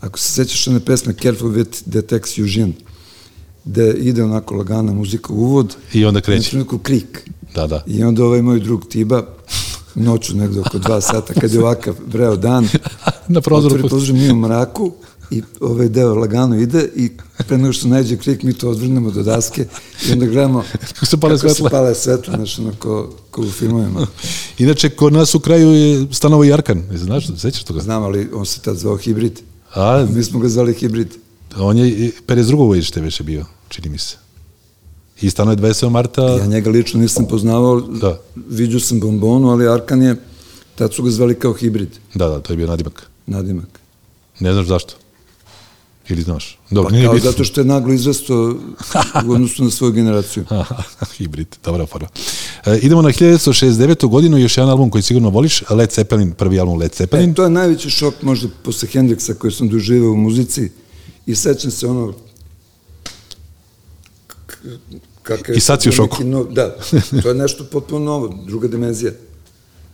Speaker 3: ako se sećaš one pesme Careful with the Tex Eugene, gde ide onako lagana muzika u uvod,
Speaker 2: I onda
Speaker 3: na
Speaker 2: kreće.
Speaker 3: trenutku krik.
Speaker 2: Da, da.
Speaker 3: I onda ovaj moj drug Tiba, noću negde oko dva sata, kad je ovakav vreo dan,
Speaker 2: Na prozoru.
Speaker 3: Otvori
Speaker 2: pusti.
Speaker 3: prozor, mi u mraku i ovaj deo lagano ide i pre nego što najde krik, mi to odvrnemo do daske i onda gledamo
Speaker 2: Kako se pale
Speaker 3: kako se
Speaker 2: svetla.
Speaker 3: pale svetla, znaš, ono, ko, ko u filmovima.
Speaker 2: Inače, kod nas u kraju je stanovo Jarkan. Jesi Znaš, sećaš toga?
Speaker 3: Znam, ali on se tad zvao hibrid.
Speaker 2: A,
Speaker 3: Mi smo ga zvali hibrid.
Speaker 2: on je i 52. godište više bio, čini mi se. I stano je 27. marta.
Speaker 3: Ja njega lično nisam poznavao,
Speaker 2: Da.
Speaker 3: viđao sam bombonu, ali Arkan je, tad su ga zvali kao hibrid,
Speaker 2: Da, da, to je bio nadimak.
Speaker 3: nadimak.
Speaker 2: Ne znaš zašto. Ili znaš. Dobro,
Speaker 3: Pa
Speaker 2: nije
Speaker 3: kao
Speaker 2: bitno.
Speaker 3: zato što je naglo izrasto u odnosu na svoju generaciju.
Speaker 2: Aha, Hibrid, dobra fora. E, idemo na 1969. godinu, još jedan album koji sigurno voliš, Led Zeppelin, prvi album Led Zeppelin.
Speaker 3: E, to je najveći šok možda posle Hendrixa koji sam doživeo u muzici i sećam se ono k- kakav
Speaker 2: I sad si u šoku.
Speaker 3: neki No, da, to je nešto potpuno novo, druga dimenzija.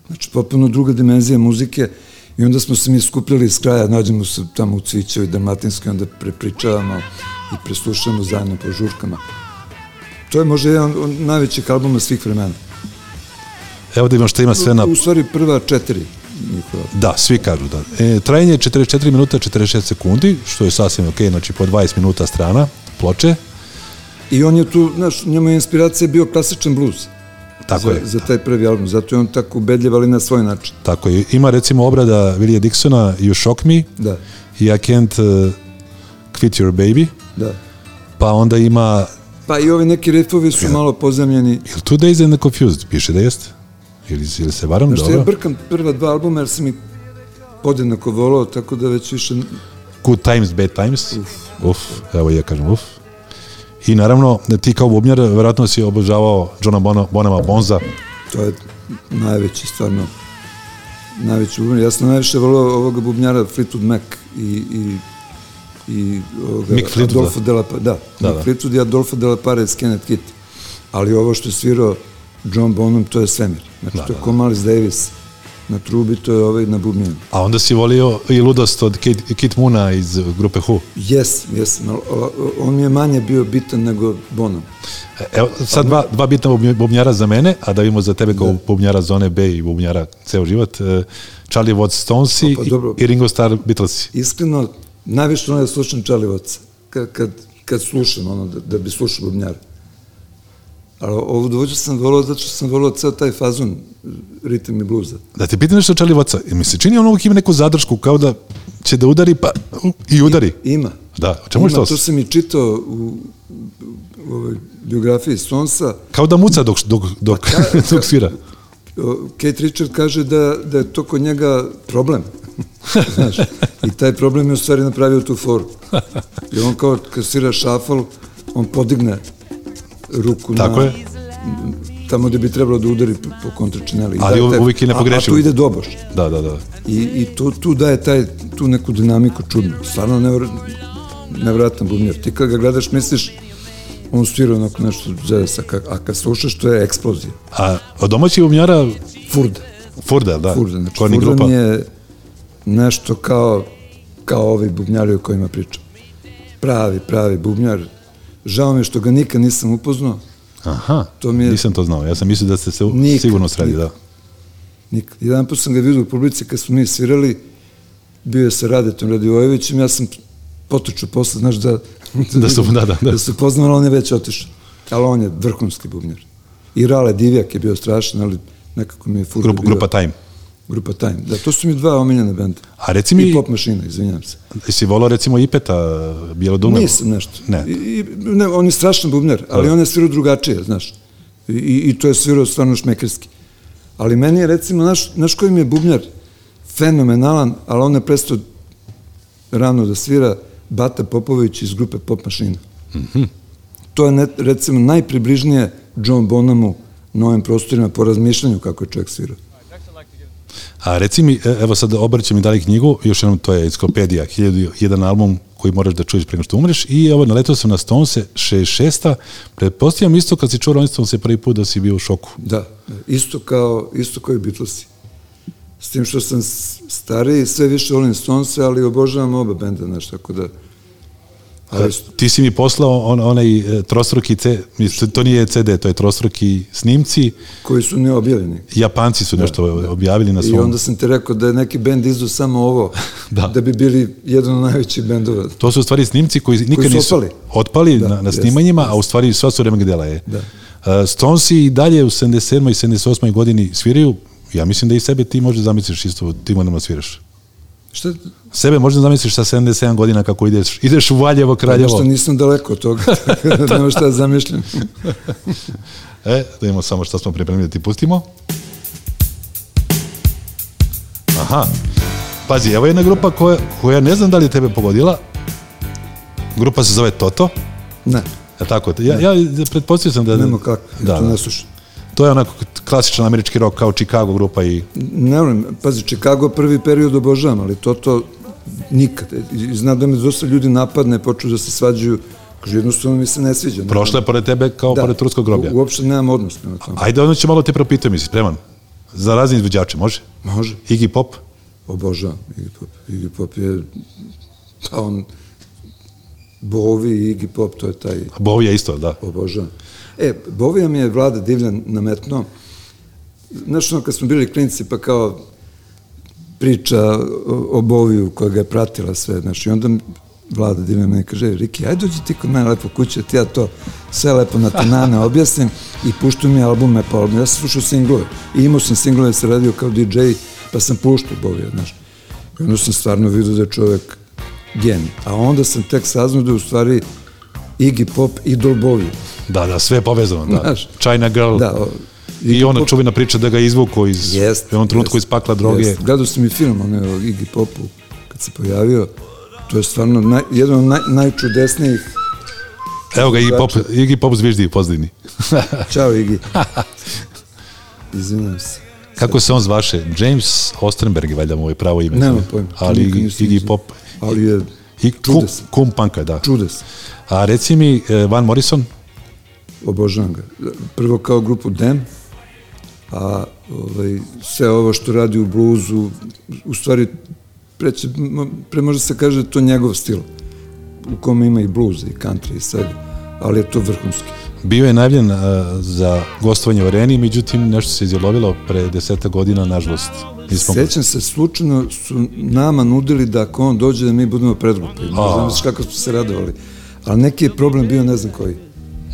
Speaker 3: Znači, potpuno druga dimenzija muzike i onda smo se mi skupljali iz kraja, nađemo se tamo u Cvićevi, Dalmatinskoj, onda prepričavamo i preslušamo zajedno po žurkama. To je možda jedan od najvećih albuma svih vremena.
Speaker 2: Evo da imam šta ima sve na...
Speaker 3: U stvari prva četiri njihova.
Speaker 2: Da, svi kažu da. E, trajanje je 44 minuta 46 sekundi, što je sasvim ok, znači po 20 minuta strana ploče.
Speaker 3: I on je tu, znaš, njemu je inspiracija bio klasičan blues.
Speaker 2: Tako
Speaker 3: za,
Speaker 2: je. da.
Speaker 3: Za taj prvi album, zato je on tako ubedljiv, ali na svoj način.
Speaker 2: Tako je. Ima recimo obrada Willija Dixona You Shock Me
Speaker 3: Da,
Speaker 2: i I Can't uh, Quit Your Baby,
Speaker 3: da.
Speaker 2: pa onda ima
Speaker 3: Pa i ovi neki riffovi su malo pozemljeni.
Speaker 2: Ili Two Days and the Confused, piše da jeste? Ili, ili se varam,
Speaker 3: Znaš, što
Speaker 2: dobro?
Speaker 3: ja brkam prva dva albuma jer sam ih podjednako volao, tako da već više...
Speaker 2: Good Times, Bad Times. Uf. evo i ja kažem uf. I naravno, ti kao bubnjar, verovatno si obožavao Johna Bono, Bonama Bonza.
Speaker 3: To je najveći, stvarno, najveći bubnjar. Ja sam najviše volao ovoga bubnjara Fleetwood Mac i, i, i ovoga,
Speaker 2: Mick Fleetwooda.
Speaker 3: Adolfo de la, Pa- da,
Speaker 2: Da,
Speaker 3: da,
Speaker 2: da.
Speaker 3: Mick Fleetwood i Adolfo de la Parra iz Kenneth Kit. Ali ovo što je svirao John Bonham, to je svemir. Znači,
Speaker 2: Da,
Speaker 3: to je
Speaker 2: da,
Speaker 3: ko Miles Davis na trubi, to je ovaj na bubnjanu.
Speaker 2: A onda si volio i ludost od Kit, Kit Moona iz grupe Who.
Speaker 3: Jes, jes, malo- o- o- on mi je manje bio bitan nego Bonham.
Speaker 2: E, Evo, sad dva, dva bitna bubnj- bubnjara za mene, a da vidimo za tebe kao bubnjara zone B i bubnjara ceo život. e, Charlie Watts Stonesi
Speaker 3: pa dobro.
Speaker 2: i Ringo Starr Beatlesi.
Speaker 3: Iskreno, najviše ono je slušan Charlie Watts. da kad, kad, kad slušam, ono, da, da bi slušao bubnjara. Ali ovu dvođu sam volao zato što sam volao ceo taj fazon ritam i bluza.
Speaker 2: Da te pitam nešto o Charlie Wattsa, jel mi se čini on uvijek ima neku zadršku, kao da će da udari, pa u, i udari.
Speaker 3: Ima.
Speaker 2: Da, o čemu je
Speaker 3: Ima,
Speaker 2: to?
Speaker 3: to sam i čitao u, u, u ovoj biografiji Sonsa.
Speaker 2: Kao da muca dok, dok,
Speaker 3: Pa
Speaker 2: dok, dok svira.
Speaker 3: O, Kate Richard kaže da, da je to kod njega problem. Znaš, I taj problem je u stvari napravio tu foru. I on kao kad svira šafal, on podigne ruku
Speaker 2: Tako
Speaker 3: na,
Speaker 2: je.
Speaker 3: tamo gde bi trebalo da udari po, po kontračineli. da
Speaker 2: Ali u- uvijek je nepogrešivo.
Speaker 3: A, a tu ide doboš.
Speaker 2: Da, da, da.
Speaker 3: I, i tu, tu daje taj, tu neku dinamiku čudnu. Stvarno nevr, nevratan bubnjar. Ti kad ga gledaš misliš on svira onako nešto zesa, a kad slušaš to je eksplozija.
Speaker 2: A od domaćih umnjara
Speaker 3: Furda.
Speaker 2: Furda, da.
Speaker 3: Furda, znači
Speaker 2: Korni
Speaker 3: Furda
Speaker 2: grupa.
Speaker 3: mi je nešto kao, kao ovi bubnjari o kojima pričam. Pravi, pravi bubnjar. Žao mi je što ga nikad nisam upoznao,
Speaker 2: Aha,
Speaker 3: To mi je-
Speaker 2: nisam to znao. Ja sam mislio da ste se u-
Speaker 3: Nikad,
Speaker 2: sigurno sredi,
Speaker 3: nikad.
Speaker 2: da.
Speaker 3: nikad. Jedan put sam ga vidio u publici kad smo mi svirali, bio je sa Radetom Radivojevićem, ja sam potočio posle, znaš, da,
Speaker 2: Da su- da, da, da.
Speaker 3: da su poznali, on je već otišao. Ali on je vrhunski bubnjar. I Rale Divjak je bio strašan, ali nekako mi je Furda
Speaker 2: Grupa,
Speaker 3: bio...
Speaker 2: grupa Time.
Speaker 3: Grupa Time. Da, to su mi dva omiljene benda.
Speaker 2: A reci
Speaker 3: I
Speaker 2: mi,
Speaker 3: Pop Mašina, izvinjam se.
Speaker 2: si volao recimo Ipeta, Bjelodumeva?
Speaker 3: Nisam nešto.
Speaker 2: Ne.
Speaker 3: I, da i- ne, on je strašan bubnar, ali
Speaker 2: Da.
Speaker 3: on je svirao drugačije, znaš. I, i, i to je svirao stvarno šmekerski. Ali meni je, recimo, naš, naš koji mi je bubnjar fenomenalan, ali on je prestao rano da svira Bata Popović iz grupe Pop Mašina.
Speaker 2: Mhm.
Speaker 3: To je, ne, recimo, najpribližnije John Bonamu na ovim prostorima po razmišljanju kako je čovjek svirao.
Speaker 2: A reci mi, e, evo sad obrćem i dali knjigu, još jednom to je enciklopedija, 1001 album koji moraš da čuješ prema što umreš i evo naletao sam na Stonese 66-a, pretpostavljam isto kad si čuo Rolling Stonese prvi put da si bio u šoku.
Speaker 3: Da, isto kao, isto kao i Beatlesi. S tim što sam s- stariji, sve više volim Stonesa, ali obožavam oba benda, znaš, tako da... Ali,
Speaker 2: Ti si mi poslao on, onaj e, trostruki, C, mislim, to nije CD, to je trostruki snimci,
Speaker 3: koji su neobjavljeni.
Speaker 2: Japanci su nešto objavili na
Speaker 3: Da. I
Speaker 2: svom...
Speaker 3: onda sam ti rekao da je neki bend izdao samo ovo,
Speaker 2: Da.
Speaker 3: da. bi bili jedan od najvećih bendova.
Speaker 2: To su u stvari snimci koji nikad
Speaker 3: su
Speaker 2: nisu
Speaker 3: otpali.
Speaker 2: otpali
Speaker 3: Da,
Speaker 2: na, na
Speaker 3: jest,
Speaker 2: snimanjima, a u stvari sva su remek dela je.
Speaker 3: Da.
Speaker 2: Uh, Stonesi i dalje u 77. i 78. godini sviraju, ja mislim da i sebe ti možda zamisliš isto u tim godinama sviraš.
Speaker 3: Šta?
Speaker 2: Sebe možda zamisliš sa 77 godina kako ideš, ideš u Valjevo, Kraljevo.
Speaker 3: Nešto nisam daleko od toga, tako da nema šta da zamišljam.
Speaker 2: E, da imamo samo što smo pripremili da ti pustimo. Aha. Pazi, evo jedna grupa koja, koja ne znam da li je tebe pogodila. Grupa se zove Toto.
Speaker 3: Ne,
Speaker 2: Je tako? Ja, ja pretpostavio sam da...
Speaker 3: nema kako,
Speaker 2: Da,
Speaker 3: da, to
Speaker 2: da.
Speaker 3: ne slušam.
Speaker 2: To je onako klasičan američki rock kao Chicago grupa i
Speaker 3: Ne volim, pazi, Chicago prvi period obožavam, ali to to nikad. I Znam da me dosta ljudi napadne, počnu da se svađaju, kaže, jednostavno mi se ne sviđa.
Speaker 2: prošla je pored tebe kao
Speaker 3: Da.
Speaker 2: pored turskog groblja.
Speaker 3: U, uopšte nemam odnos prema tome.
Speaker 2: Ajde, onda ću malo te propitujem, jesi spreman? Za razne izvođače, može?
Speaker 3: Može,
Speaker 2: Iggy Pop?
Speaker 3: obožavam Iggy Pop. Iggy Pop je, pa on, Bovi i Iggy Pop, to je taj,
Speaker 2: Bowie je isto, da.
Speaker 3: obožavam. E, Bovija mi je Vlada Divljan nametno. Znaš ono, kad smo bili klinci, pa kao priča o, o Boviju koja ga je pratila sve, znaš, i onda mi Vlada Divljan meni kaže, "E, Riki, ajde dođi ti kod mene lepo kuće, ti ja to sve lepo na tanane objasnim i puštu mi albume po albume. Ja sam slušao singlove i imao sam singlove, se radio kao DJ, pa sam puštao Bovija, znaš. I onda sam stvarno vidio da je čovek genij. A onda sam tek saznao da je u stvari Iggy Pop idol Bovija.
Speaker 2: Da, da, sve je povezano, da.
Speaker 3: Znaš.
Speaker 2: China Girl.
Speaker 3: Da, o,
Speaker 2: I ona čuvena priča da ga je izvukao iz,
Speaker 3: Jest.
Speaker 2: u jednom trenutku iz pakla droge.
Speaker 3: Jest. Gledao sam i film onaj o Iggy Popu kad se pojavio. To je stvarno naj, jedan od naj, najčudesnijih.
Speaker 2: Evo ga, Iggy Pop,
Speaker 3: Znači-
Speaker 2: Iggy Pop zviždi u pozdini.
Speaker 3: Ćao Iggy. Izvinjam se.
Speaker 2: Kako se on zvaše? James Ostenberg je valjda mu je pravo ime.
Speaker 3: Nemam pojma. to
Speaker 2: Ali
Speaker 3: nikad
Speaker 2: Iggy,
Speaker 3: nisam
Speaker 2: Iggy
Speaker 3: vidio.
Speaker 2: Pop.
Speaker 3: Ali je
Speaker 2: I kum,
Speaker 3: Čudesan.
Speaker 2: kum panka, da.
Speaker 3: čudes.
Speaker 2: A reci mi, e, Van Morrison,
Speaker 3: Obožavam ga. Prvo kao grupu Dem, a ovaj, sve ovo što radi u bluzu, u stvari, preće, pre može se kaže da je to njegov stil, u kome ima i bluza i country i svega, ali je to vrhunski.
Speaker 2: bio je najavljen e, za gostovanje u areni, međutim nešto se izjelovilo pre deseta godina, nažalost. Nismo
Speaker 3: Sećam se, slučajno su nama nudili da ako on dođe da mi budemo predgrupa. Ne
Speaker 2: A.
Speaker 3: znam već kako smo se radovali. ali neki je problem bio, ne znam koji.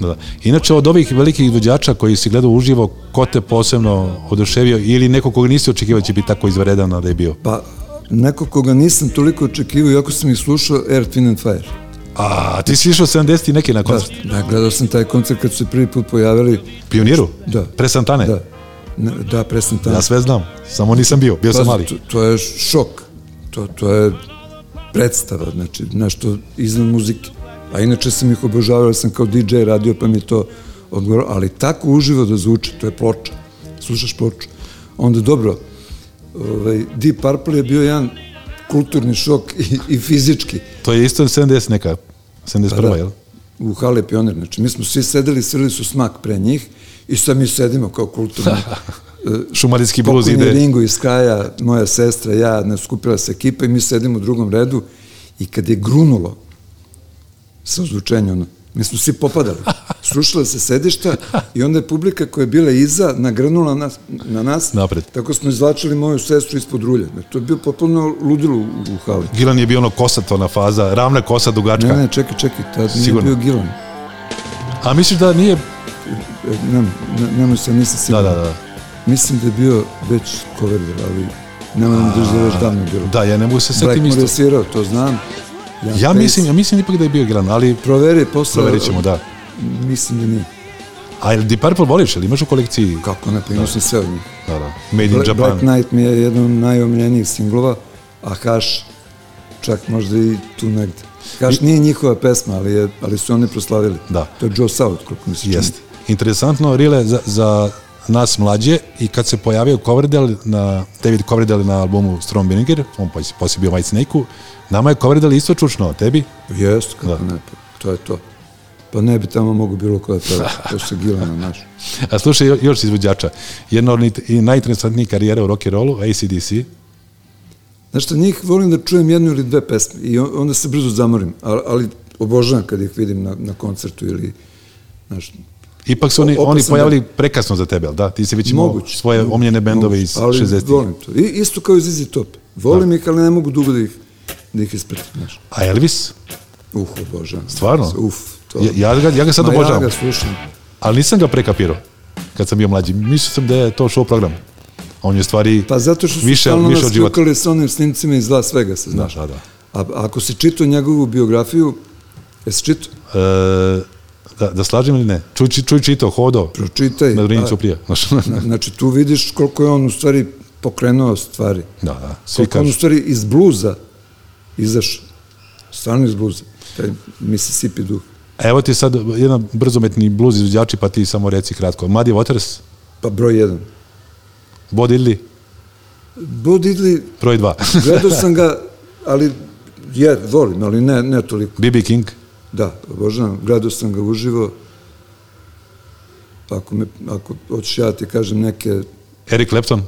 Speaker 2: Da, da. Inače, od ovih velikih izvođača koji si gledao uživo, ko te posebno oduševio ili neko koga nisi očekivao će biti tako izveredan, a da je bio?
Speaker 3: Pa, neko koga nisam toliko očekivao, iako sam ih slušao, Air, Twin and Fire.
Speaker 2: A, ti si išao 70 i neke na koncert.
Speaker 3: Da, da, gledao sam taj koncert kad su se prvi put pojavili.
Speaker 2: Pioniru?
Speaker 3: Da.
Speaker 2: Pre Santane?
Speaker 3: Da, ne, da presne tamo.
Speaker 2: Ja sve znam, samo nisam bio, bio sam
Speaker 3: Pazi,
Speaker 2: mali.
Speaker 3: To, to je šok. To, to je predstava, znači nešto iznad muzike. A inače sam ih obožavao, jer sam kao DJ radio pa mi je to odgovorilo, ali tako uživo da zvuči, to je ploča. Slušaš ploču. Onda dobro, ovaj, Deep Purple je bio jedan kulturni šok i, i fizički.
Speaker 2: To je isto 70 neka, 71.
Speaker 3: da.
Speaker 2: jel?
Speaker 3: U Hale Pionir, znači mi smo svi sedeli, svirali su smak pre njih i sad mi sedimo kao kulturni
Speaker 2: Šumarijski bluz
Speaker 3: Pokojni
Speaker 2: ide.
Speaker 3: Ringo iz kraja, moja sestra, ja, nas skupila se ekipa i mi sedimo u drugom redu i kad je grunulo sa ozvučenja, ono, mi smo svi popadali. Srušila se sedišta i onda je publika koja je bila iza nagrnula nas, na nas.
Speaker 2: Napred.
Speaker 3: Tako smo izvlačili moju sestru ispod rulja. To je bio potpuno ludilo u, u hali.
Speaker 2: Gilan je bio ono kosat, ona faza, ravna kosa, dugačka.
Speaker 3: Ne, ne, čekaj, čekaj, tad nije
Speaker 2: Sigurno.
Speaker 3: bio Gilan.
Speaker 2: A misliš da nije...
Speaker 3: E, Ne, ne, nemoj se, nisam
Speaker 2: Da,
Speaker 3: siguran.
Speaker 2: da, da.
Speaker 3: Mislim da je bio već Coverdale, ali nemoj mi da je već davno bilo.
Speaker 2: Da, ja ne mogu se setim
Speaker 3: Blackmore
Speaker 2: isto.
Speaker 3: je svirao, to znam.
Speaker 2: Ja
Speaker 3: Pace.
Speaker 2: mislim, ja mislim ipak da je bio Gilan, ali
Speaker 3: Proveri posle.
Speaker 2: proverit ćemo, da.
Speaker 3: Mislim da nije.
Speaker 2: A jel Deep Purple voliš, ili imaš u kolekciji?
Speaker 3: Kako ne, pa imao sam sve od njih.
Speaker 2: Da, da. Made in
Speaker 3: Black, Black
Speaker 2: Japan.
Speaker 3: Knight mi je jedan od najomljenijih singlova, a Hash čak možda i tu negde. Hash nije njihova pesma, ali, je, ali su oni proslavili.
Speaker 2: Da.
Speaker 3: To je Joe South, koliko mi se čini.
Speaker 2: Jeste. Interesantno, Rile, za, za nas mlađe i kad se pojavio Coverdale na, David Coverdale na albumu Strong Bininger, on pos- poslije bio White Snake-u, nama je Coverdale isto čučno, a tebi?
Speaker 3: Jeste, kako
Speaker 2: Da.
Speaker 3: ne, pa to je to. Pa ne bi tamo mogu bilo koja peva, to se gila na naš.
Speaker 2: A slušaj, jo- još izvođača. Jedna od nit- i najinteresantnijih karijera u rock'n'rollu, ACDC,
Speaker 3: Znaš šta, njih volim da čujem jednu ili dve pesme i on- onda se brzo zamorim, ali, ali obožavam kad ih vidim na, na koncertu ili, znaš,
Speaker 2: Ipak su oni,
Speaker 3: O- opet
Speaker 2: oni
Speaker 3: sam
Speaker 2: pojavili prekasno za tebe, jel da? Ti si već imao
Speaker 3: Moguće.
Speaker 2: svoje omljene bendove
Speaker 3: Moguće,
Speaker 2: iz
Speaker 3: ali
Speaker 2: 60-ih.
Speaker 3: volim to. I, isto kao i ZZ Top. Volim ih, ali ne mogu dugo da ih, da ih ispratim. Znaš.
Speaker 2: A Elvis?
Speaker 3: Uf, obožavam.
Speaker 2: Stvarno?
Speaker 3: Uf, to...
Speaker 2: Ja- ja ga- ja ga sad
Speaker 3: Ma
Speaker 2: obožavam.
Speaker 3: Ja ga slušam.
Speaker 2: Ali nisam ga prekapirao kad sam bio mlađi. Mislio sam da je to show program. A On je u stvari
Speaker 3: Pa zato što su
Speaker 2: više,
Speaker 3: stalno
Speaker 2: više
Speaker 3: nas
Speaker 2: od života.
Speaker 3: kljukali sa onim snimcima iz Las Vegasa, znaš.
Speaker 2: da, da.
Speaker 3: A, ako si čitao njegovu biografiju, jesi čitao?
Speaker 2: E, da, da slažem ili ne? Čuj, čuj, čuj čito, hodo.
Speaker 3: Pročitaj.
Speaker 2: Na
Speaker 3: A,
Speaker 2: Drinicu prije. Znaš, da,
Speaker 3: Znači, tu vidiš koliko je on u stvari pokrenuo stvari.
Speaker 2: da. Svi
Speaker 3: Koliko on u
Speaker 2: kažu.
Speaker 3: stvari iz bluza izašao. Stvarno iz bluza. Taj Mississippi duh.
Speaker 2: Evo ti sad jedan brzometni bluz izvođači, pa ti samo reci kratko. Muddy Waters,
Speaker 3: Pa broj jedan.
Speaker 2: Bo Diddley,
Speaker 3: Bo Diddley,
Speaker 2: broj dva.
Speaker 3: gledao sam ga, ali je, volim, ali ne, ne toliko.
Speaker 2: B.B. King,
Speaker 3: Da, obožavam, gledao sam ga uživo. Pa Ako, me, ako hoćeš ja ti kažem neke,
Speaker 2: Eric Clapton,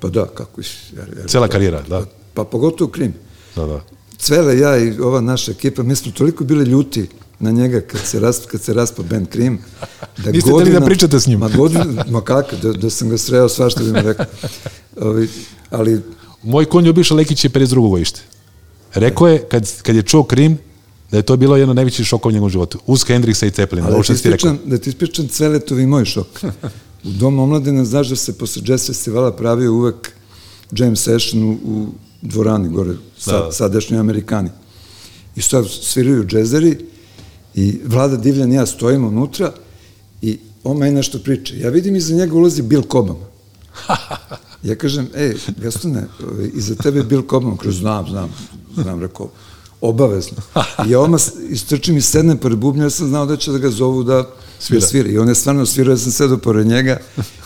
Speaker 3: pa da, kako iš, jer, jer,
Speaker 2: cela karijera, da.
Speaker 3: pa pogotovo Krim.
Speaker 2: Da, da.
Speaker 3: Cvele, ja i ova naša ekipa, mi smo toliko bili ljuti na njega kad se raspa, kad se raspa Ben Krim. Da
Speaker 2: Niste hteli da pričate s njim.
Speaker 3: Ma godinu, ma kakav, da, da sam ga sreo, svašta bi mu rekao. Ovi, ali
Speaker 2: Moj konj Ljubiša Lekić je 52. godište. Rekao je, kad, kad je čuo Krim, da je to bilo jedno najveći šok u njegovom životu. Uz Hendriksa i Ceplina,
Speaker 3: Ali
Speaker 2: ovo
Speaker 3: da ti
Speaker 2: što si ti rekao.
Speaker 3: ispričam, da ti ispričam Cveletovi moj šok. U Domu omladine znaš da se posle jazz festivala pravio uvek jam session u, u dvorani gore, sa,
Speaker 2: da.
Speaker 3: sadašnji Amerikani. I sad sviraju džezeri i Vlada Divljan i ja stojimo unutra i on meni nešto priča. Ja vidim iza njega ulazi Bill Cobham. Ja kažem, ej, Gastone, ovaj, iza tebe je Bill Cobham, kroz znam, znam, znam, rekao, obavezno. I ja odmah istrčim i sednem pored bubnja, jer sam znao da će da ga zovu da
Speaker 2: Svira.
Speaker 3: svira. Da svira. I on je stvarno svirao, ja sam sedao pored njega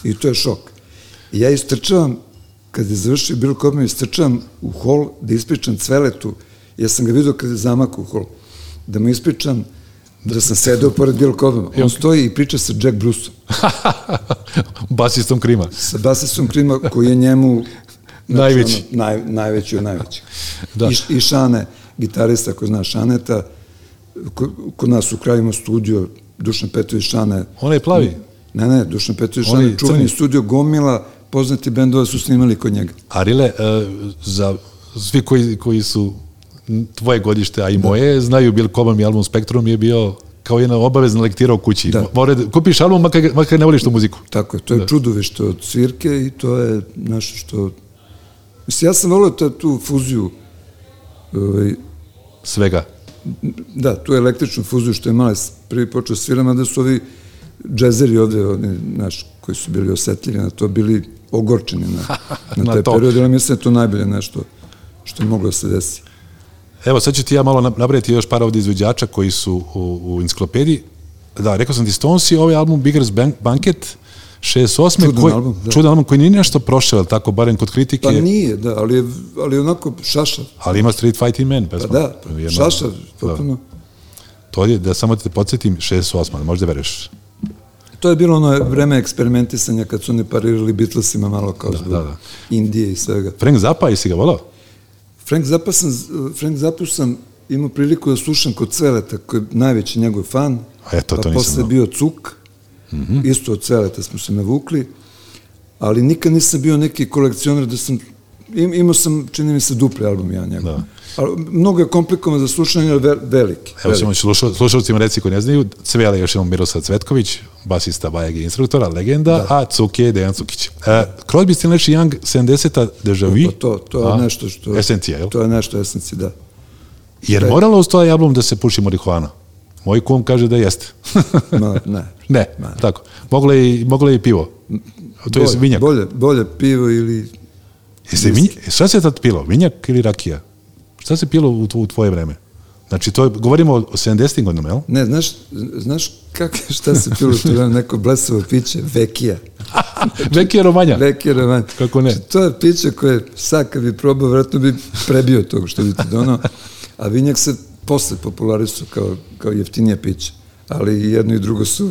Speaker 3: i to je šok. I ja istrčavam, kad je završio Bill Cobham, istrčavam u hol da ispričam Cveletu, ja sam ga vidio kad je zamak u hol, da mu ispričam da sam sedao pored Bill Cobham. On stoji i priča sa Jack Bruceom,
Speaker 2: Basistom Krima.
Speaker 3: sa basistom Krima koji je njemu znači,
Speaker 2: Najveći.
Speaker 3: ono, naj, najveći od najvećih.
Speaker 2: Da.
Speaker 3: Da. I, Š- I Šane, gitarista ko zna Šaneta, ko, kod nas u kraju ima studio, Dušan Petrović Šane.
Speaker 2: Onaj plavi?
Speaker 3: Ne, ne, Dušan Petrović
Speaker 2: Onaj
Speaker 3: Šane, čuveni
Speaker 2: crni?
Speaker 3: studio Gomila,
Speaker 2: eh,
Speaker 3: poznati bendova su snimali kod njega.
Speaker 2: Arile, e, za svi koji, koji su tvoje godište, a i
Speaker 3: Da.
Speaker 2: moje, znaju Bill Cobham i album Spektrum je bio kao jedna obavezna lektira u kući.
Speaker 3: Da.
Speaker 2: Da. More, kupiš album makar, ga- makar ne voliš tu muziku.
Speaker 3: Tako je, to je da. čudovište od svirke i to je nešto što... Mislim, ja sam volio ta, tu fuziju, ovaj,
Speaker 2: Svega.
Speaker 3: da, tu električnu fuziju što je Males prvi počeo svirama, da su ovi džezeri ovde, oni, naš, koji su bili osetljivi na to, bili ogorčeni na, na,
Speaker 2: Na
Speaker 3: taj
Speaker 2: to.
Speaker 3: period, ali mislim da je to najbolje nešto što je moglo da se desi.
Speaker 2: Evo, sad ću ti ja malo nab- nabrati još par ovdje izvođača koji su u, u enciklopediji. Da, rekao sam ti Stonesi, ovaj album Biggers Bank, Banket, 68.
Speaker 3: Čudan
Speaker 2: koji,
Speaker 3: album, da.
Speaker 2: Čudan album koji nije nešto prošao, jel tako, barem kod kritike,
Speaker 3: Pa nije, da, ali, je, ali je onako šašav.
Speaker 2: ali ima Street Fighting Man. Pa
Speaker 3: Da, šašav, potpuno.
Speaker 2: To je, da samo te podsjetim, 68. da možda veruješ.
Speaker 3: To je bilo ono vreme eksperimentisanja kad su oni parirali Beatlesima malo kao da,
Speaker 2: da, da.
Speaker 3: Indije i svega.
Speaker 2: Frank Zappa, jesi ga volao?
Speaker 3: Frank Zappa sam, Frank Zappu sam imao priliku da slušam kod Celeta, koji je najveći njegov fan.
Speaker 2: A eto,
Speaker 3: pa
Speaker 2: to nisam
Speaker 3: posle
Speaker 2: znao. Mhm.
Speaker 3: bio Cuk, mm -hmm. isto od Celeta smo se navukli, ali nikad nisam bio neki kolekcioner da sam, im, imao sam, čini mi se, dupli album ja njegov.
Speaker 2: Da.
Speaker 3: Ali mnogo je komplikovan za slušanje, ali ve- veliki.
Speaker 2: Evo
Speaker 3: veliki.
Speaker 2: ćemo sluša, slušalcima reci koji ne znaju, Cvele još imamo Miroslav Cvetković, basista Bajeg i instruktora, legenda, da. a Cuk je Dejan Cukić. E, Crosby, Stills Young, 70-a Deja Vu.
Speaker 3: Pa to, to je
Speaker 2: A?
Speaker 3: nešto što...
Speaker 2: Esencija, jel?
Speaker 3: To je nešto esencija, da.
Speaker 2: Jer moralo uz taj album da se puši marihuana. Moj kum kaže da jeste.
Speaker 3: Ma, ne.
Speaker 2: ne, tako. Moglo je, i- moglo je i pivo. To je
Speaker 3: Bolje-
Speaker 2: vinjak.
Speaker 3: Bolje, bolje pivo ili...
Speaker 2: Jeste vinjak? Šta se tad pilo? Vinjak ili rakija? Šta se pilo u, tvo- u tvoje vreme? Znači, to je, govorimo o 70-im godinama, jel?
Speaker 3: Ne, znaš, znaš kak, šta se pilo tu vreme, neko blesavo piće, vekija.
Speaker 2: Vekija Romanja.
Speaker 3: Vekija roman.
Speaker 2: Da. Kako ne?
Speaker 3: Znači, To je piće koje sad kad bi probao, vjerojatno bi prebio tog što bi ti donao. A vinjak se posle popularisu kao, kao jeftinije piće. Ali i jedno i drugo su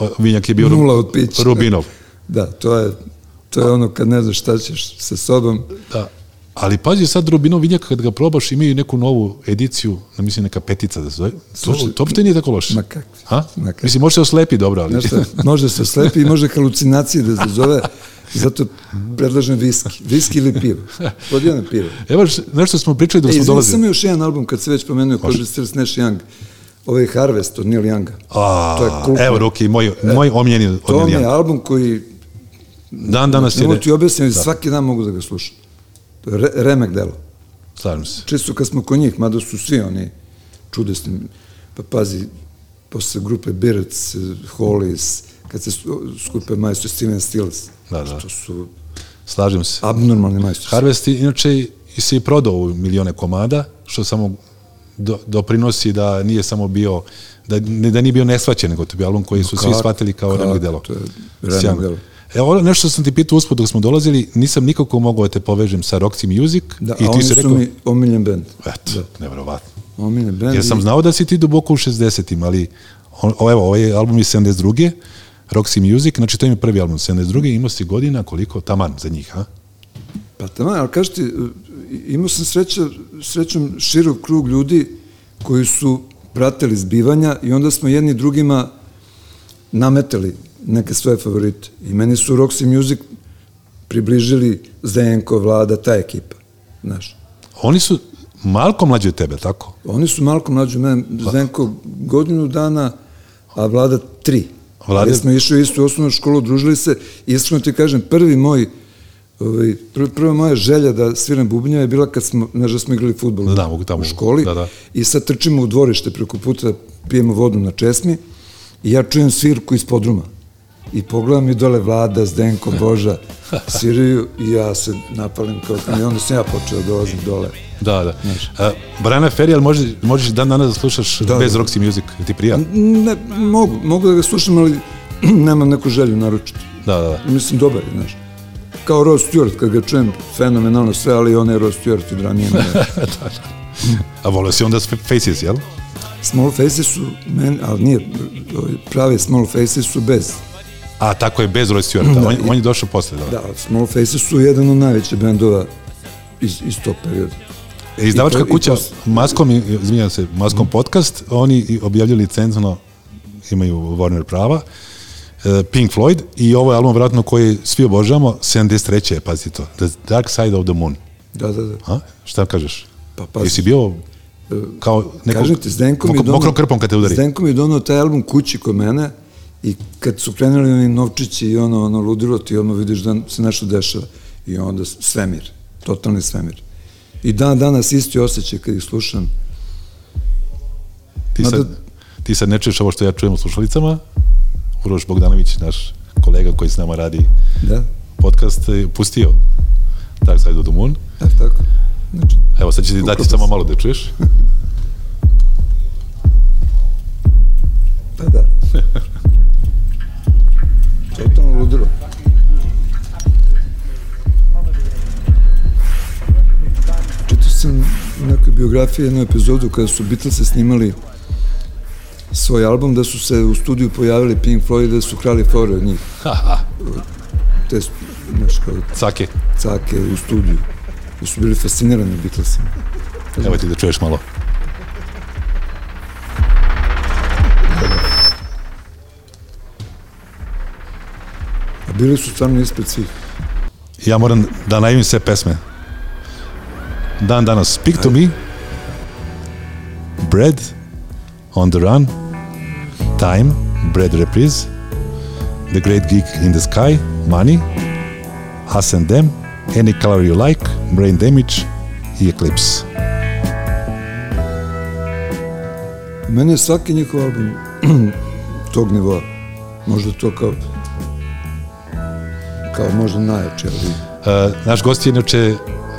Speaker 2: O, Vinjak je bio Ru-
Speaker 3: nula od pića.
Speaker 2: Rubinov.
Speaker 3: Da, to je, to je ono kad ne znaš šta ćeš sa sobom.
Speaker 2: Da. Ali pazi sad Rubinov vinjak kad ga probaš imaju neku novu ediciju, ne mislim neka petica da se zove. To,
Speaker 3: Slušaj,
Speaker 2: to opšte nije tako loše.
Speaker 3: ma kakvi,
Speaker 2: Ha?
Speaker 3: ma kakvi.
Speaker 2: Mislim, može se oslepi dobro, ali...
Speaker 3: Znaš šta, može se slepi i može halucinacije da se zove, zato predlažem viski. Viski ili pivo. Podijeno pivo.
Speaker 2: Evo, š- nešto smo pričali dok
Speaker 3: E,
Speaker 2: smo
Speaker 3: izvini,
Speaker 2: dolazili.
Speaker 3: samo još jedan album, kad se već pomenuo, Crosby, Stills, Nash Young, ovaj Harvest od Neil Younga.
Speaker 2: A,
Speaker 3: To je kultno.
Speaker 2: Evo, Ruki, moj, moj omljeni
Speaker 3: To mi je
Speaker 2: omljeni.
Speaker 3: album koji,
Speaker 2: Dan danas
Speaker 3: ne
Speaker 2: je...
Speaker 3: mogu
Speaker 2: ne-
Speaker 3: ti objasniti, svaki dan mogu da ga slušam. To je re, remek delo.
Speaker 2: Slažem se.
Speaker 3: Čisto kad smo kod njih, mada su svi oni čudesni, pa pazi, posle grupe Birds, Hollies, kad se su- skupe majstor Steven Stills,
Speaker 2: Da, da.
Speaker 3: što su
Speaker 2: Slažem se.
Speaker 3: abnormalni majstori.
Speaker 2: Harvest je, inače i- i se i prodao u milione komada, što samo do, doprinosi da nije samo bio da, ne, da nije bio nesvaćen, nego to je bio album koji su svi
Speaker 3: kako,
Speaker 2: shvatili kao
Speaker 3: kako,
Speaker 2: remek delo.
Speaker 3: to je remek
Speaker 2: Sjajno.
Speaker 3: delo.
Speaker 2: Evo, ono nešto sam ti pitao usput dok smo dolazili, nisam nikako mogao da te povežem sa Roxy Music
Speaker 3: Da,
Speaker 2: i
Speaker 3: a
Speaker 2: ti
Speaker 3: oni
Speaker 2: si
Speaker 3: su
Speaker 2: rekao,
Speaker 3: mi Da. omiljen band.
Speaker 2: eto, nevjerovatno.
Speaker 3: Omiljen band.
Speaker 2: Jer sam
Speaker 3: i-
Speaker 2: znao da si ti duboko u 60-im, ali on, o, evo, ovaj album je 72. Roxy Music, znači to im je prvi album 72. Imao si godina, koliko? Taman za njih, a?
Speaker 3: Pa tamo, ali kaži ti, imao sam sreća, srećom širok krug ljudi koji su pratili zbivanja i onda smo jedni drugima nametali neke svoje favorite. I meni su Roxy Music približili Zdenko, Vlada, ta ekipa. Znaš.
Speaker 2: Oni su malko mlađi od tebe, tako?
Speaker 3: Oni su malko mlađi od mene,
Speaker 2: Pa.
Speaker 3: Zdenko godinu dana, a Vlada tri.
Speaker 2: Vlada-
Speaker 3: Vlada... Jer smo išli u istu osnovnu školu, družili se, iskreno ti kažem, prvi moj, ovaj, prva, prva moja želja da sviram bubnjeve je bila kad smo, znaš da smo igrali futbol
Speaker 2: Da, da, mogu tamo,
Speaker 3: u školi
Speaker 2: da, da.
Speaker 3: i sad trčimo u dvorište preko puta, pijemo vodu na česmi i ja čujem svirku iz podruma. I pogledam i dole Vlada, Zdenko, Boža, sviraju i ja se napalim kao i onda sam ja počeo da dolazim dole.
Speaker 2: Da, da. A, Brana Ferijal, možeš, možeš dan danas da slušaš da, bez Roxy Music, jel ti prija?
Speaker 3: Ne, mogu, mogu da ga slušam, ali nemam neku želju naročiti.
Speaker 2: Da, da, da.
Speaker 3: Mislim, dobar je, znaš. Kao Rod Stewart, kad ga čujem, fenomenalno sve, ali onaj Rod Stewart od ranije. mene.
Speaker 2: A volio si onda s Fa- Faces, jel?
Speaker 3: small Faces su, men, ali nije, ovaj, prave Small Faces su bez.
Speaker 2: A tako je, bez Roy Stewarta.
Speaker 3: Da,
Speaker 2: on,
Speaker 3: i-
Speaker 2: on je došao posle, da. da.
Speaker 3: Da, Small Faces su jedan od najvećih bendova iz, iz tog perioda.
Speaker 2: E, Izdavačka
Speaker 3: Da. I to- i
Speaker 2: kuća,
Speaker 3: to s-
Speaker 2: Maskom, i- izvinjam se, Maskom podcast, oni i objavljuju licencno, imaju Warner prava, e, Pink Floyd i ovo je album vratno koji svi obožavamo, 73. je, pazi to, The Dark Side of the Moon.
Speaker 3: Da, da, da.
Speaker 2: A? Šta kažeš?
Speaker 3: Pa,
Speaker 2: Pa,
Speaker 3: pa,
Speaker 2: Jesi bio kao nekog,
Speaker 3: Kažem ti, Zdenko mi je
Speaker 2: mok- mokrom krpom kad te udari?
Speaker 3: Zdenko mi je donao taj album kući kod mene i kad su krenuli oni novčići i ono, ono ludilo, ti odmah vidiš da se nešto dešava. I onda s- svemir, totalni svemir. I dan danas isti osjećaj kad ih slušam.
Speaker 2: Ti,
Speaker 3: Mada-
Speaker 2: sad, ti sad ne čuješ ovo što ja čujem u slušalicama. Uroš Bogdanović, naš kolega koji s nama radi
Speaker 3: Da,
Speaker 2: podcast, je pustio Dark Side of the Moon.
Speaker 3: da tako. Znači,
Speaker 2: Evo, sad će ti dati
Speaker 3: Upravo
Speaker 2: samo
Speaker 3: sam.
Speaker 2: malo da čuješ.
Speaker 3: pa da. Totalno ludilo. Čitao sam u nekoj biografiji jednu epizodu kada su Beatlesi snimali svoj album, da su se u studiju pojavili Pink Floyd i da su krali fore od njih.
Speaker 2: Ha, ha,
Speaker 3: Te, znaš, kao
Speaker 2: cake.
Speaker 3: cake u studiju. Da su bili fascinirani Beatlesima.
Speaker 2: Evo ti da čuješ malo.
Speaker 3: A bili su stvarno ispred svih.
Speaker 2: Ja moram da najavim sve pesme. Dan danas, Speak to Me, Bread, On the Run, Time, Bread Reprise, The Great Geek in the Sky, Money, Us and Them, Any Color You Like, Brain Damage i Eclipse.
Speaker 3: Meni je svaki njihov album tog nivoa. Možda to kao kao možda najjači, ali
Speaker 2: Uh, naš gost je inače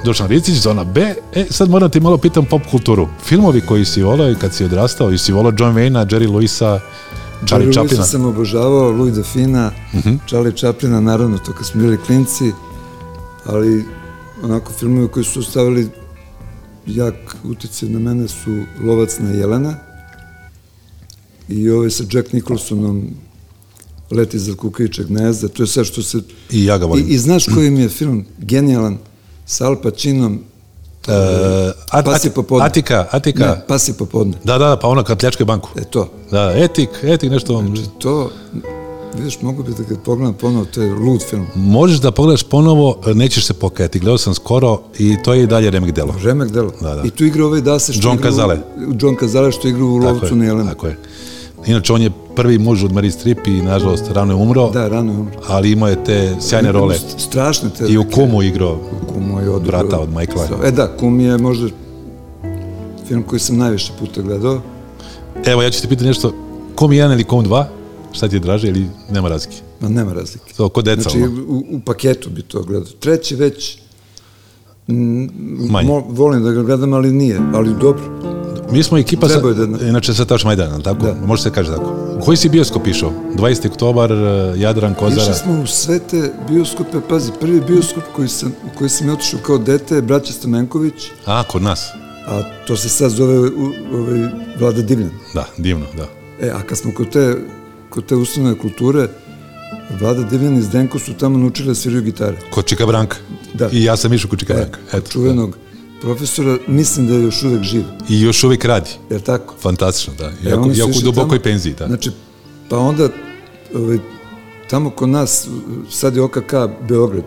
Speaker 2: Dušan Ricić, Zona B. E, sad moram ti malo pitam pop kulturu. Filmovi koji si volao i kad si odrastao, i si volao John Wayne-a, Jerry Lewis-a, Charlie
Speaker 3: Charlie
Speaker 2: Chaplina.
Speaker 3: Chaplina. sam obožavao, Louis de Fina,
Speaker 2: Mhm.
Speaker 3: Charlie Chaplina, naravno, to kad smo bili klinci, ali onako filmove koji su ostavili jak utjecaj na mene su Lovac na Jelena i ovaj sa Jack Nicholsonom Leti za kukajiča gnezda, to je sve što se...
Speaker 2: I ja ga
Speaker 3: I,
Speaker 2: volim.
Speaker 3: I znaš koji mi je film genijalan sa Al Pacinom,
Speaker 2: Uh, At-
Speaker 3: Pas je
Speaker 2: At-
Speaker 3: popodne.
Speaker 2: Atika, Atika.
Speaker 3: ne, pas je popodne,
Speaker 2: Da, da, pa ono kad pljačka banku.
Speaker 3: e to. Znači,
Speaker 2: Da, etik, etik nešto. on-
Speaker 3: To, vidiš, mogu bi da ga pogledam ponovo, to je lud film.
Speaker 2: Možeš da pogledaš ponovo, nećeš se pokajati. Gledao sam skoro i to je i dalje remek delo.
Speaker 3: Remek delo.
Speaker 2: Da, da.
Speaker 3: I tu igra ovaj Dase što
Speaker 2: John
Speaker 3: igra
Speaker 2: Cazale.
Speaker 3: U, John Cazale što igra u
Speaker 2: Tako je,
Speaker 3: Lovcu na Jelena.
Speaker 2: Tako je. Inače, on je prvi muž od Marie Strip i, nažalost, rano je umro,
Speaker 3: Da, rano je umro.
Speaker 2: ali imao je te sjajne role.
Speaker 3: St- Strašne te.
Speaker 2: I u Kumu igrao.
Speaker 3: Kumu je od...
Speaker 2: Brata od Michaela.
Speaker 3: E da, Kum je možda film koji sam najviše puta gledao.
Speaker 2: Evo, ja ću ti pitati nešto. Kum 1 ili Kum 2? Šta ti je draže ili nema razlike?
Speaker 3: Ma nema razlike.
Speaker 2: To, ko deca,
Speaker 3: Znači,
Speaker 2: ono.
Speaker 3: u, u paketu bi to gledao. Treći već
Speaker 2: Manje.
Speaker 3: mo, volim da ga gledam, ali nije. Ali dobro.
Speaker 2: Mi smo ekipa, sa,
Speaker 3: Trebao je da-
Speaker 2: inače sa Taš Majdan, jel tako?
Speaker 3: Da.
Speaker 2: Može se kaže tako. Koji si bioskop išao? 20. oktobar, eh, Jadran, Kozara.
Speaker 3: Išli smo u sve te bioskope, pazi, prvi bioskop koji sam, u koji sam ja otišao kao dete je Braća Stamenković,
Speaker 2: A, kod nas.
Speaker 3: A to se sad zove u- ovaj, Vlada Divljan.
Speaker 2: Da, divno, da.
Speaker 3: E, a kad smo kod te, kod te ustanove kulture, Vlada Divljan i Zdenko su tamo naučili da sviraju gitare.
Speaker 2: Kod Čika Branka.
Speaker 3: Da.
Speaker 2: I ja sam išao kod Čika
Speaker 3: E,
Speaker 2: Branka. Eto. da.
Speaker 3: čuvenog profesora, mislim da je još uvek živ,
Speaker 2: I još uvijek radi.
Speaker 3: jer tako?
Speaker 2: Fantastično, da.
Speaker 3: E,
Speaker 2: Jako,
Speaker 3: oni su
Speaker 2: jako u
Speaker 3: išli
Speaker 2: dubokoj
Speaker 3: tamo,
Speaker 2: penziji, da.
Speaker 3: Znači, pa onda, ovaj, tamo kod nas, sad je OKK Beograd,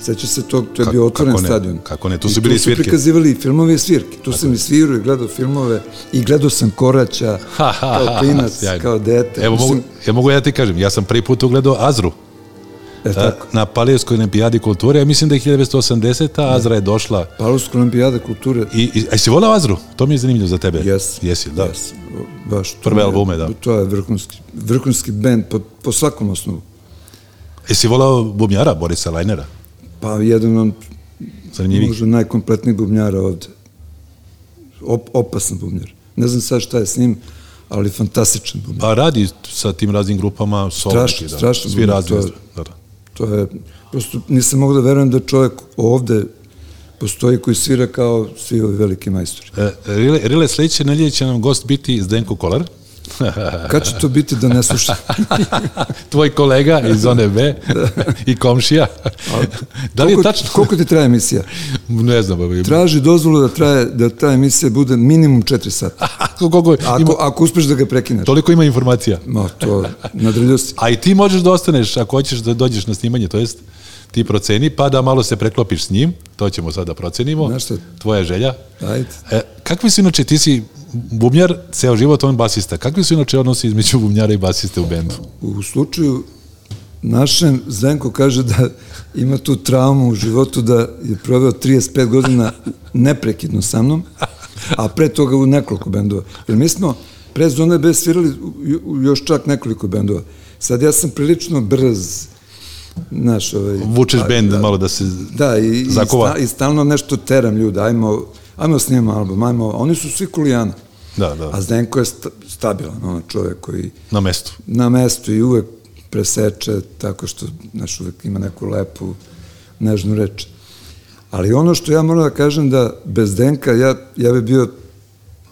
Speaker 3: Seća se tog, to je
Speaker 2: Ka-
Speaker 3: bio otvoren
Speaker 2: kako ne,
Speaker 3: stadion.
Speaker 2: kako ne, tu
Speaker 3: I
Speaker 2: su bili
Speaker 3: tu
Speaker 2: svirke.
Speaker 3: su prikazivali i filmove i svirke. Tu sam i svirao i gledao filmove i gledao sam Koraća
Speaker 2: Ha, ha,
Speaker 3: kao
Speaker 2: ha,
Speaker 3: klinac,
Speaker 2: sjajno.
Speaker 3: kao dete.
Speaker 2: Evo,
Speaker 3: Mislim,
Speaker 2: mogu, ja mogu ja ti kažem, ja sam prvi put ugledao Azru.
Speaker 3: E,
Speaker 2: Da,
Speaker 3: tako.
Speaker 2: na Palijevskoj olimpijadi kulture, ja mislim da je 1980. Azra je došla.
Speaker 3: Palovska olimpijada kulture.
Speaker 2: I, i, a jesi volao Azru? To mi je zanimljivo za tebe.
Speaker 3: Jes.
Speaker 2: Jesi, da.
Speaker 3: Jes. O, Baš. to
Speaker 2: Prve
Speaker 3: je-
Speaker 2: albume, da.
Speaker 3: To je vrhunski, vrhunski band po, po svakom osnovu.
Speaker 2: Jesi volao bubnjara Borisa Lajnera?
Speaker 3: Pa jedan on
Speaker 2: Zanimljivih.
Speaker 3: možda najkompletnijih bubnjara ovde. Op, opasan bubnjar. Ne znam sad šta je s njim, ali fantastičan bubnjar.
Speaker 2: Pa radi sa tim raznim grupama, solo,
Speaker 3: Strašno,
Speaker 2: neki, da.
Speaker 3: strašno
Speaker 2: Svi
Speaker 3: bubnjar,
Speaker 2: razni,
Speaker 3: to je-
Speaker 2: da, da.
Speaker 3: To je, prosto nisam mogao da verujem da čovjek ovde postoji koji svira kao svi ovi veliki majstori.
Speaker 2: E, Rile, Rile sledeće nedelje će nam gost biti Zdenko Kolar,
Speaker 3: Kad će to biti da ne slušam?
Speaker 2: tvoj kolega iz zone B i komšija. da li je
Speaker 3: Koliko-
Speaker 2: tačno?
Speaker 3: Koliko ti traje emisija?
Speaker 2: Ne znam. ali-
Speaker 3: Traži dozvolu da traje da ta emisija bude minimum 4 sata.
Speaker 2: Ako, koliko,
Speaker 3: Ako
Speaker 2: Ah, ima,
Speaker 3: ako uspeš da ga prekineš.
Speaker 2: toliko ima informacija.
Speaker 3: Ma to nadreljio si.
Speaker 2: A i ti možeš da ostaneš ako hoćeš da dođeš na snimanje, to jest ti proceni, pa da malo se preklopiš s njim, to ćemo sad da procenimo.
Speaker 3: Znaš šta?
Speaker 2: Tvoja želja.
Speaker 3: Ajde.
Speaker 2: E, kakvi su inače, ti si bubnjar, ceo život on basista, kakvi su inače odnosi između bubnjara i basiste u bendu?
Speaker 3: U slučaju našem, Zdenko kaže da ima tu traumu u životu da je proveo 35 godina neprekidno sa mnom, a pre toga u nekoliko bendova. Jer mi smo pre Zone B svirali u- u još čak nekoliko bendova. Sad ja sam prilično brz, znaš, ovaj...
Speaker 2: Vučeš
Speaker 3: a-
Speaker 2: bend malo da se...
Speaker 3: Da, i, i,
Speaker 2: Zakova.
Speaker 3: sta, i stalno nešto teram ljudi, ajmo, ajmo snimamo album, ajmo, oni su svi kulijana.
Speaker 2: Da, da.
Speaker 3: A Zdenko je sta, stabilan, ono čovek koji
Speaker 2: Na mestu.
Speaker 3: na mestu i uvek preseče tako što, znaš, uvek ima neku lepu, nežnu reč. Ali ono što ja moram da kažem da bez Denka ja, ja bi bio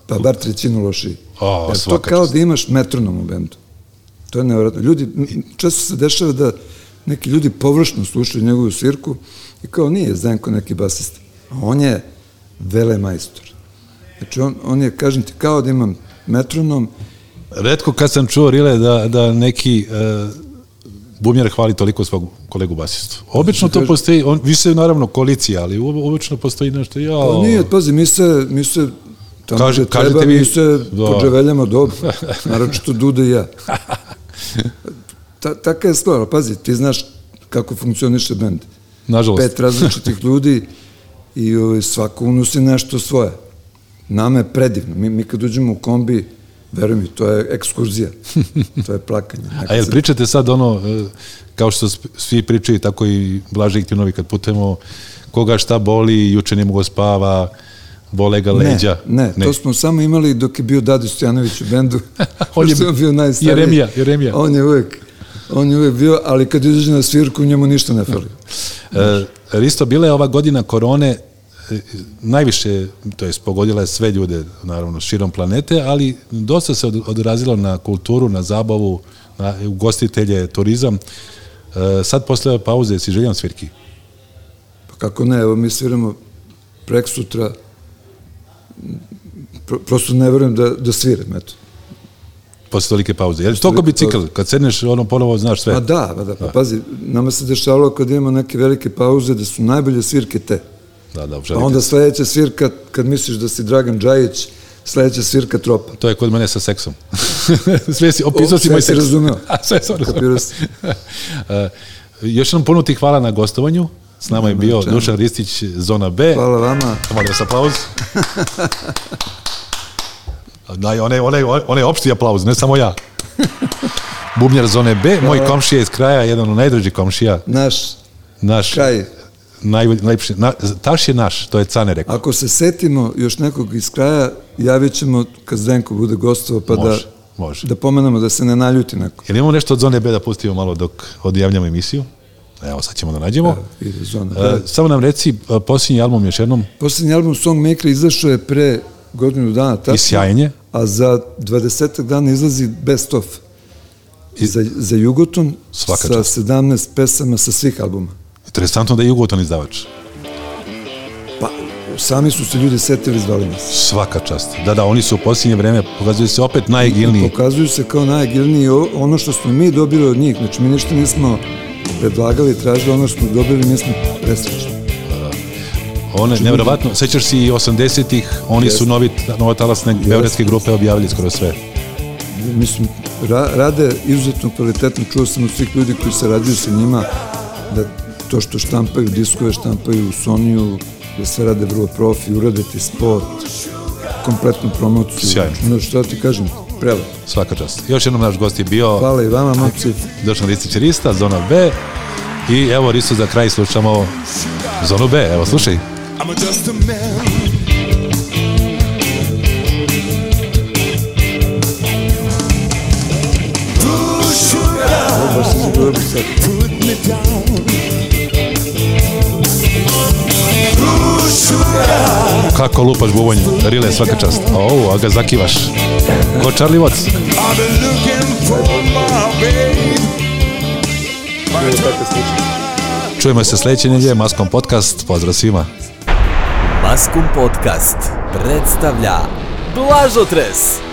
Speaker 3: pa bar trećinu lošiji.
Speaker 2: O,
Speaker 3: Jer to
Speaker 2: svaka
Speaker 3: kao
Speaker 2: čast.
Speaker 3: da imaš metronom u bendu. To je nevjerojatno. Ljudi, m, često se dešava da neki ljudi površno slušaju njegovu svirku i kao nije Zdenko neki basista. A on je vele majstor. Znači, on, on je, kažem ti, kao da imam metronom
Speaker 2: Redko kad sam čuo Rile da, da neki e, bubnjar hvali toliko svog kolegu basistu. Obično to postoji, on, više je naravno koalicija, ali u- obično postoji nešto,
Speaker 3: Pa
Speaker 2: jao,
Speaker 3: nije, pazi, mi se, mi se, tamo
Speaker 2: Kaže-
Speaker 3: Kaže, gde treba,
Speaker 2: kažete
Speaker 3: mi,
Speaker 2: vi-
Speaker 3: mi se
Speaker 2: Da.
Speaker 3: podževeljamo dobro, naročito Duda i ja. Ta, taka je stvar, ali pazi, ti znaš kako funkcioniše bend.
Speaker 2: nažalost.
Speaker 3: Pet različitih ljudi i ovaj, svako unosi nešto svoje. Nama je predivno, mi, mi kad uđemo u kombi, veruj mi, to je ekskurzija, to je plakanje. Dakle,
Speaker 2: A jel pričate sad ono, e, kao što sp- svi pričaju, tako i Blaži i Tinovi kad putujemo, koga šta boli, juče ne mogu spava, bole ga leđa.
Speaker 3: Ne, ne, to smo samo imali dok je bio Dadi Stojanović u bendu.
Speaker 2: On je
Speaker 3: Pošto bio najstariji.
Speaker 2: Jeremija, Jeremija.
Speaker 3: On je uvek, on je uvek bio, ali kad izađe na svirku, njemu ništa ne fali.
Speaker 2: E, Risto, bila je ova godina korone e, najviše, to jest pogodila je sve ljude, naravno, širom planete, ali dosta se od- odrazilo na kulturu, na zabavu, na ugostitelje, turizam. E, Sad posle ove pauze si željan svirki.
Speaker 3: Pa kako ne, evo mi sviramo prek sutra, Pro, prosto ne verujem da, da sviram, eto.
Speaker 2: Posle tolike pauze. Je li toko
Speaker 3: Tolike
Speaker 2: bicikl? Kad sedneš ono ponovo, znaš sve.
Speaker 3: Pa da, pa da, pa pazi, nama se dešavalo kad imamo neke velike pauze da su najbolje svirke te.
Speaker 2: Da, da,
Speaker 3: Pa
Speaker 2: želite.
Speaker 3: onda sledeća svirka, kad misliš da si Dragan Džajić, sledeća svirka tropa.
Speaker 2: To je kod mene sa seksom. sve si, opisao
Speaker 3: O,
Speaker 2: si
Speaker 3: sve
Speaker 2: moj
Speaker 3: si
Speaker 2: seks.
Speaker 3: razumeo.
Speaker 2: A, sve sam razumeo.
Speaker 3: Kapirao si.
Speaker 2: E, Još jednom puno ti hvala na gostovanju. S nama je bio
Speaker 3: čemu.
Speaker 2: Dušan Ristić, Zona B.
Speaker 3: Hvala vama.
Speaker 2: Molim vas aplauz. Daj, onaj, onaj, onaj opšti aplauz, ne samo ja. Bubnjar Zone B, moj komšija iz kraja, jedan od najdražih komšija.
Speaker 3: Naš
Speaker 2: Naš,
Speaker 3: kraj
Speaker 2: Naj, najlepši, na, taš je naš, to je Cane rekao.
Speaker 3: Ako se setimo još nekog iz kraja, javit ćemo kad Zdenko bude gostovo, pa
Speaker 2: Može,
Speaker 3: da,
Speaker 2: može.
Speaker 3: da pomenemo da se ne naljuti neko.
Speaker 2: Jel imamo nešto od Zone B da pustimo malo dok odjavljamo emisiju? Evo, sad ćemo da nađemo.
Speaker 3: Ide zona.
Speaker 2: E,
Speaker 3: Da.
Speaker 2: samo nam reci, e, posljednji album još jednom,
Speaker 3: Posljednji album Song Maker izašao je pre godinu dana, tako?
Speaker 2: I sjajnje.
Speaker 3: A za 20 dana izlazi Best Of. I... Za, za Jugoton
Speaker 2: Svaka
Speaker 3: sa
Speaker 2: čast.
Speaker 3: 17 pesama sa svih albuma.
Speaker 2: interesantno da je Jugoton izdavač.
Speaker 3: Pa, sami su se ljudi setili zvali nas.
Speaker 2: Svaka čast. Da, da, oni su u posljednje vreme, pokazuju se opet najegilniji.
Speaker 3: Pokazuju se kao najagilniji o- ono što smo mi dobili od njih. Znači, mi ništa nismo predlagali, tražili ono što smo dobili, mi smo presrećni.
Speaker 2: One, nevjerovatno, sećaš si i 80-ih, oni su
Speaker 3: Jeste.
Speaker 2: novi, nova talasne yes. beogradske grupe objavili skoro sve.
Speaker 3: mislim, ra, rade izuzetno kvalitetno, čuo sam od svih ljudi koji se raduju sa njima, da to što štampaju diskove, štampaju u Sonyu, da sve rade vrlo profi, urade ti spot, kompletnu promociju.
Speaker 2: Sjajno.
Speaker 3: No, što ti kažem, prelepo.
Speaker 2: Svaka čast. Još jednom naš gost je bio
Speaker 3: Hvala i vama, momci.
Speaker 2: Dušan Ristić Rista, Zona B. I evo, Risto, za kraj slušamo Zonu B. Evo, slušaj.
Speaker 4: I'm just a man. Push you down,
Speaker 3: Baš se zagovorim sad.
Speaker 4: put me down. Push you down.
Speaker 2: Kako lupaš bubonju. Rile, svaka čast. O, a ga zakivaš. Ko Charlie Watts.
Speaker 4: I've been looking for my babe.
Speaker 2: Čujemo se sledeće nedelje, Maskom podcast. Pozdrav svima.
Speaker 1: Maskum Podcast predstavlja Blažotres